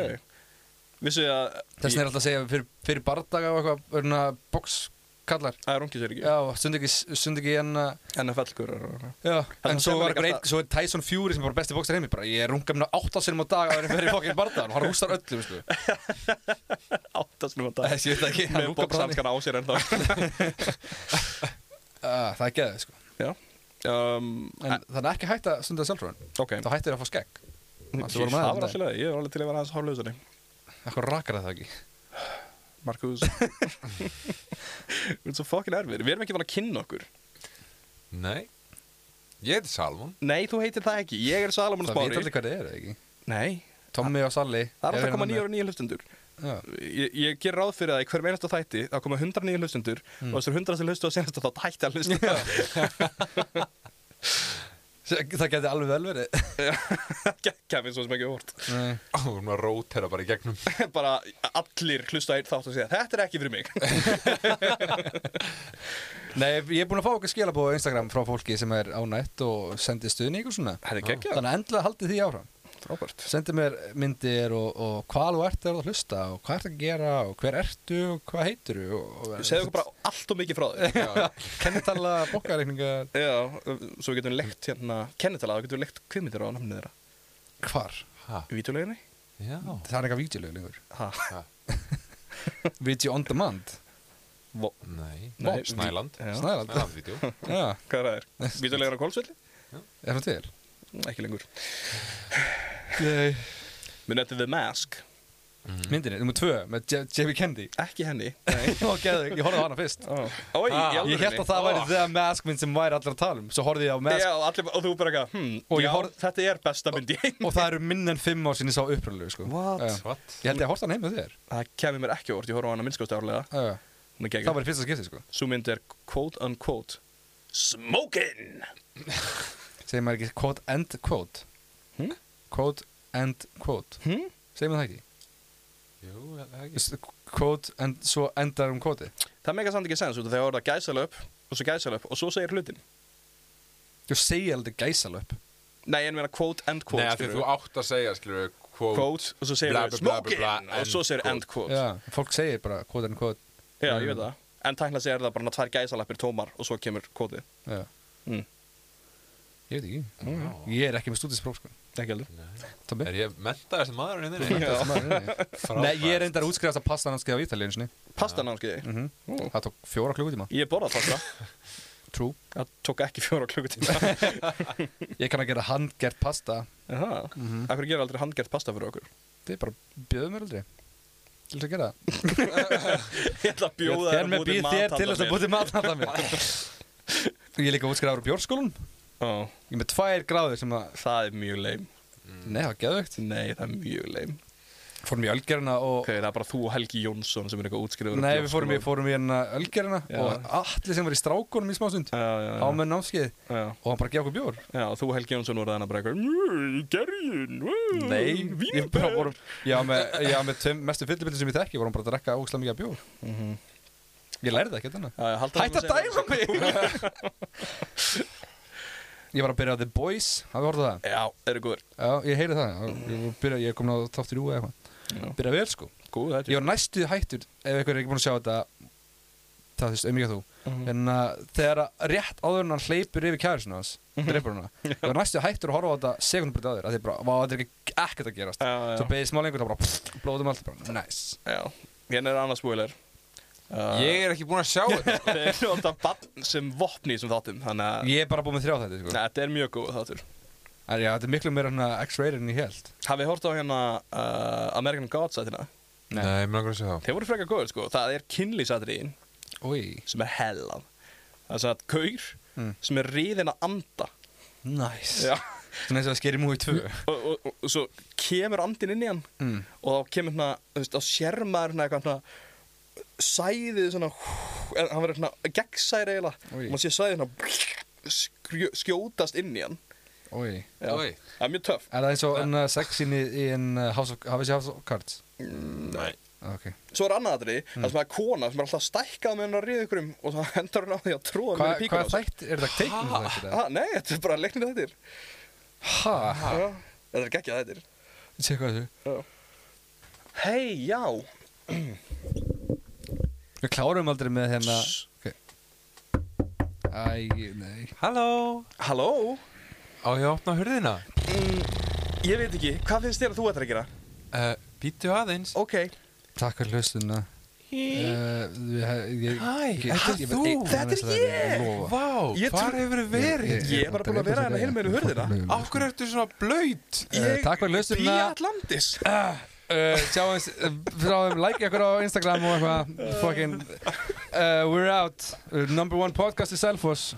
Speaker 2: Vissu þið að
Speaker 1: þess vegna er alltaf að segja fyrir, fyrir bardaga og eitthvað örna bokskallar
Speaker 2: Það er ungi sér ekki
Speaker 1: já, stund ekki, stund ekki en að
Speaker 2: NFL gauðar
Speaker 1: Já,
Speaker 2: Það
Speaker 1: en
Speaker 2: sem
Speaker 1: svo var
Speaker 2: kemur líka
Speaker 1: einhver einn,
Speaker 2: alltaf-
Speaker 1: svo er Tyson Fury sem er bara besti bókstar heimi bara, ég runga mér átt á sinum á dag að vera í fokkin bardagan og hann rústar öllum, sko
Speaker 2: Áttast nú að
Speaker 1: Þessi, ég veit ekki, hann
Speaker 2: Með
Speaker 1: rúkar bara þannig
Speaker 2: bóksamskana á sér ennþá
Speaker 1: Ah, Það er geðið, sko
Speaker 2: Já um,
Speaker 1: En það er ekki hægt að stunda sjálfröðun
Speaker 2: Ok
Speaker 1: Þá hættir að fá skegg
Speaker 2: Það
Speaker 1: vorum aðeins um
Speaker 2: var
Speaker 1: daginn.
Speaker 2: alltaf leið Ég var alveg til að vera aðeins hálflausari
Speaker 1: Eitthvað rakar það ekki
Speaker 2: Markus Þú ert svo fucking erfið Við erum ekki vanað að kynna okkur
Speaker 3: að- Nei, ég heiti Salmon.
Speaker 2: Nei, þú heitir það ekki Ég er Salomon
Speaker 1: Það veit
Speaker 2: Spári
Speaker 1: allir hvað þið eru, ekki
Speaker 2: Nei
Speaker 1: Tommy og Sally hérna
Speaker 2: Það er hérna alltaf að koma nýjar og nýjar hlustundur.
Speaker 1: Já,
Speaker 2: Ég, ég ger ráð fyrir það í hverjum einasta þætti þá koma hundra nýjar hlustundur og þessar hundra sem hlustu á senasta þátt hætti að hlusta.
Speaker 1: það geti alveg vel verið
Speaker 2: Gekka mér svo sem ekki vort.
Speaker 1: Nei.
Speaker 3: Ó, hún var að rótera bara í gegnum.
Speaker 2: Bara allir hlusta á einn þátt og segja þetta er ekki fyrir mig.
Speaker 1: Nei, ég er búin að fá okkur skilabóð á Instagram frá fólki sem er ánætt og sendir stuðning og svona
Speaker 2: Þetta er geggjað.
Speaker 1: Þannig að endilega haldið því áfram
Speaker 2: Frábært.
Speaker 1: sendi mér myndir og, og hvað þú ert að hlusta og hvað ert að gera og hver ertu og hvað heitir þú og, og
Speaker 2: Segðu okkur bara allt og mikið frá þig.
Speaker 1: kennitala bókareikninga
Speaker 2: Já, svo getum við lekt hérna, kennetala, þá getum við lekt kviðmyndir á namnið þeirra.
Speaker 1: hvar?
Speaker 3: Ha,
Speaker 2: Í vítuleginni?
Speaker 3: já.
Speaker 1: Það er eitthvað vídeolög lengur
Speaker 2: Ha,
Speaker 3: Ha,
Speaker 1: Video on demand
Speaker 2: vo,
Speaker 3: nei.
Speaker 2: Nei,
Speaker 3: Bob Snæland. Ah,
Speaker 2: vi- Já.
Speaker 1: Snæðaland
Speaker 3: Snæland-vídeó.
Speaker 1: Já,
Speaker 2: hvað er það er? Vítulegin á Kolsvelli?
Speaker 1: er hann til?
Speaker 2: Ekki lengur.
Speaker 1: Nei
Speaker 2: Minn eftir The Mask.
Speaker 1: Myndinni, nummer tvö með J- J.B. Kendi
Speaker 2: Ekki henni. Mhm. Nei.
Speaker 1: Ó, geðu, ég horfði á hana fyrst
Speaker 2: Ó, Ó, í
Speaker 3: Ah.
Speaker 2: alvörunni?
Speaker 1: Ég held að það væri
Speaker 2: Ó.
Speaker 1: The Mask mynd sem væri allar að tala um Svo horfði ég á Mask
Speaker 2: Já, og, allir, og þú bara eitthvað, hmm,
Speaker 1: Og ég
Speaker 2: já,
Speaker 1: horf-
Speaker 2: þetta er besta myndi heim.
Speaker 1: og það eru minn en fimm ár sinni sá uppröðlegu sko
Speaker 2: What?
Speaker 1: Já.
Speaker 3: What?
Speaker 1: Ég held ég að horfði hann heim með þér
Speaker 2: Það kemur mér ekki á orð, ég horf á hana minnskósti árlega.
Speaker 1: Já.
Speaker 2: Hún er gegn.
Speaker 1: Það var í fyrsta skipti sko
Speaker 2: Sú mynd er quote unquote smokin'.
Speaker 1: segir maður ekki quote and quote
Speaker 2: Hm?
Speaker 1: quote and quote
Speaker 2: Hm?
Speaker 1: segir maður það ekki
Speaker 3: Jú, er það ekki.
Speaker 1: Just quote and svo endar um quote
Speaker 2: Það meika samt ekki sens út af þegar orða gæsalöp og svo gæsalöp og svo segir hlutin.
Speaker 1: þú segir aldrei gæsalöp
Speaker 2: Nei, en meina quote and quote.
Speaker 3: Nei, af því
Speaker 2: skilurðu.
Speaker 3: þú átt að segja, skilur við, quote.
Speaker 2: Quote og svo segir
Speaker 3: bla,
Speaker 2: við
Speaker 3: bla, bla, bla,
Speaker 2: smokin'
Speaker 3: bla,
Speaker 2: og svo
Speaker 3: end
Speaker 2: segir
Speaker 3: quote.
Speaker 2: end quote.
Speaker 1: já fólk segir bara quote and quote
Speaker 2: Já, ég veit það. En tækna segir það bara hann að tvær gæsalöpir tómar og svo kemur quoteið.
Speaker 1: já
Speaker 2: Mm.
Speaker 1: ég veit ekki ég er ekki með stúdinspróf sko
Speaker 2: Ekki heldur.
Speaker 1: Tommi
Speaker 3: Er ég mentaðist maður hérna inni?
Speaker 2: Já.
Speaker 1: Nei, ég er reyndar að útskrifast að pasta hann skeið á Ítalíu einu sinni.
Speaker 2: Pastanámskeiði.
Speaker 1: Mhm. Það tók fjóra klukkutíma
Speaker 2: Ég borðað pasta.
Speaker 1: True
Speaker 2: Það tók ekki fjóra klukkutíma.
Speaker 1: Ég kann að gera handgert pasta
Speaker 2: Aha. Akkur gerir aldrei handgert pasta fyrir okkur?
Speaker 1: Þið bara bjöðu mér aldrei Til þess að gera það
Speaker 2: Ég ætla að bjóða
Speaker 1: Ég er með býð þér til þess að búti mat handa mér Ég er líka útskrifaður á bjórskólum
Speaker 2: oh,
Speaker 1: Ég er með tvær gráður sem að
Speaker 2: Það er mjög leim Mm.
Speaker 1: Nei, það var geðvögt
Speaker 2: Nei, það er mjög leim
Speaker 1: Fórum í ölgerina og
Speaker 2: okay, Það er bara þú og Helgi Jónsson sem er eitthvað útskriður
Speaker 1: Nei, við fórum í, fórum í hérna ölgerina
Speaker 2: Já.
Speaker 1: Og allir sem var í strákunum í smástund
Speaker 2: Já, já,
Speaker 1: Á
Speaker 2: já,
Speaker 1: með námskeið
Speaker 2: já,
Speaker 1: Og hann bara gefa okkur bjór
Speaker 2: já, þú og Helgi Jónsson voru þannig bara eitthvað Gerjun,
Speaker 1: Nei, ég
Speaker 2: vínber
Speaker 1: bara vorum Já, með, já, með tveim mestu fyllibildi sem ég þekki Vorum bara að drekka ógislega mikið af bjór Ég lærði það ekki þarna
Speaker 2: Já, já, halda
Speaker 1: Hætt að dæma mig Ég var að byrja á The Boys Hafið horfðu það?
Speaker 2: Já, eru góður
Speaker 1: Já, ég heyri það Ég, var að byrja, ég er komin á þátt í rúi eða
Speaker 2: Já.
Speaker 1: eitthvað Byrja vel sko
Speaker 2: Góð,
Speaker 1: Ég var næstuð hættur Ef einhver er ekki búin að sjá þetta það þvist, um ekki að þú
Speaker 2: Mhm.
Speaker 1: en uh, þegar að rétt áður en hann hleypur yfir kæristuna hans
Speaker 2: Mhm.
Speaker 1: dreipur hana og er næstu hættur að horfa á þetta sekundum breyta aður að þið bara, vá, þetta er ekki ekkert að gerast
Speaker 2: Já, já.
Speaker 1: svo beðið smá lengur þá bara pff, blóðum allt bara, nice
Speaker 2: Já, hérna er annars spoiler uh,
Speaker 3: Ég er ekki búinn að sjá þetta sko.
Speaker 2: Þeir nota bann sem vopni sem þáttum Þannig að
Speaker 1: ég er bara búinn með þrjá þetta, sko
Speaker 2: Nei, þetta er mjög góð þáttur
Speaker 1: en já, þetta er miklu meira svona X-rated en ég held
Speaker 2: Hafið þið hórt á hérna uh, American Gods sætina
Speaker 1: Nei.
Speaker 3: Nei, mér langar að sjá það
Speaker 2: Þeir voru frekar góður sko Það er kynlýsatriðin
Speaker 1: Úi,
Speaker 2: sem er hellað Það er svona gaur
Speaker 1: Mm.
Speaker 2: sem er riðin að anda
Speaker 1: nice
Speaker 2: Já
Speaker 1: svona eins og að skeri múið tvö
Speaker 2: og, og, og, og svo kemur andin inn í hann
Speaker 1: Mm.
Speaker 2: og þá kemur hérna, þú veist, þá sér maður hérna eitthvað hérna sæðið svona, hú, er- hann verður hérna gegnsæri eiginlega,
Speaker 1: Oj.
Speaker 2: og maður sé sæðið hérna skrjó- skjótast inn í hann
Speaker 1: Úi
Speaker 2: Já.
Speaker 3: Oj.
Speaker 2: það er mjög töff
Speaker 1: Er það eins og en, uh, sexin í, í en uh, House of, hafið sér House of Cards?
Speaker 2: Nei.
Speaker 1: Ok.
Speaker 2: svo er annað aðri, mm. það sem er kona sem er alltaf stækkað með hennar riðið ykkurum og þá hendur hann á því að tróða
Speaker 1: Hva,
Speaker 2: með píkur
Speaker 1: hvað þætt, er þetta teiknum
Speaker 3: Ha?
Speaker 1: þættir? eða?
Speaker 2: ah, nei, þetta er bara leiknir þættir
Speaker 1: Ha? Ha?
Speaker 2: Já. þetta er geggjað þættir
Speaker 1: Sér hvað þessu?
Speaker 2: hei, já
Speaker 1: Við klárum aldrei með hérna... Ok. Æ, nei.
Speaker 3: Halló
Speaker 2: halló,
Speaker 3: Á ég að opna hurðina?
Speaker 2: Mm, ég veit ekki, hvað finnst þér að þú ættir að gera?
Speaker 3: Uh, Býtu aðeins
Speaker 2: ok,
Speaker 1: Takk fyrir hlustuna. Uh, ég,
Speaker 3: Hæ,
Speaker 1: ég-
Speaker 3: ert það
Speaker 1: ég-
Speaker 3: þú?
Speaker 1: ég-
Speaker 2: Þetta er
Speaker 1: veist það,
Speaker 2: ég!
Speaker 1: lofa.
Speaker 3: Vá,
Speaker 2: Ég
Speaker 3: hvar
Speaker 2: trú-
Speaker 3: hefur þið verið?
Speaker 2: ég- er bara búinn að vera hérna hinum megin við hurðina.
Speaker 3: Akkur ertu svona blöyt?
Speaker 1: Eh,
Speaker 2: Ég
Speaker 1: takk fyrir hlustuna.
Speaker 2: bý Atlantis
Speaker 1: Uh, sjáum frá þeim, like ykkur á Instagram og eitthvað. Fucking, uh, we're out. Uh, Number one podcast í Selfoss.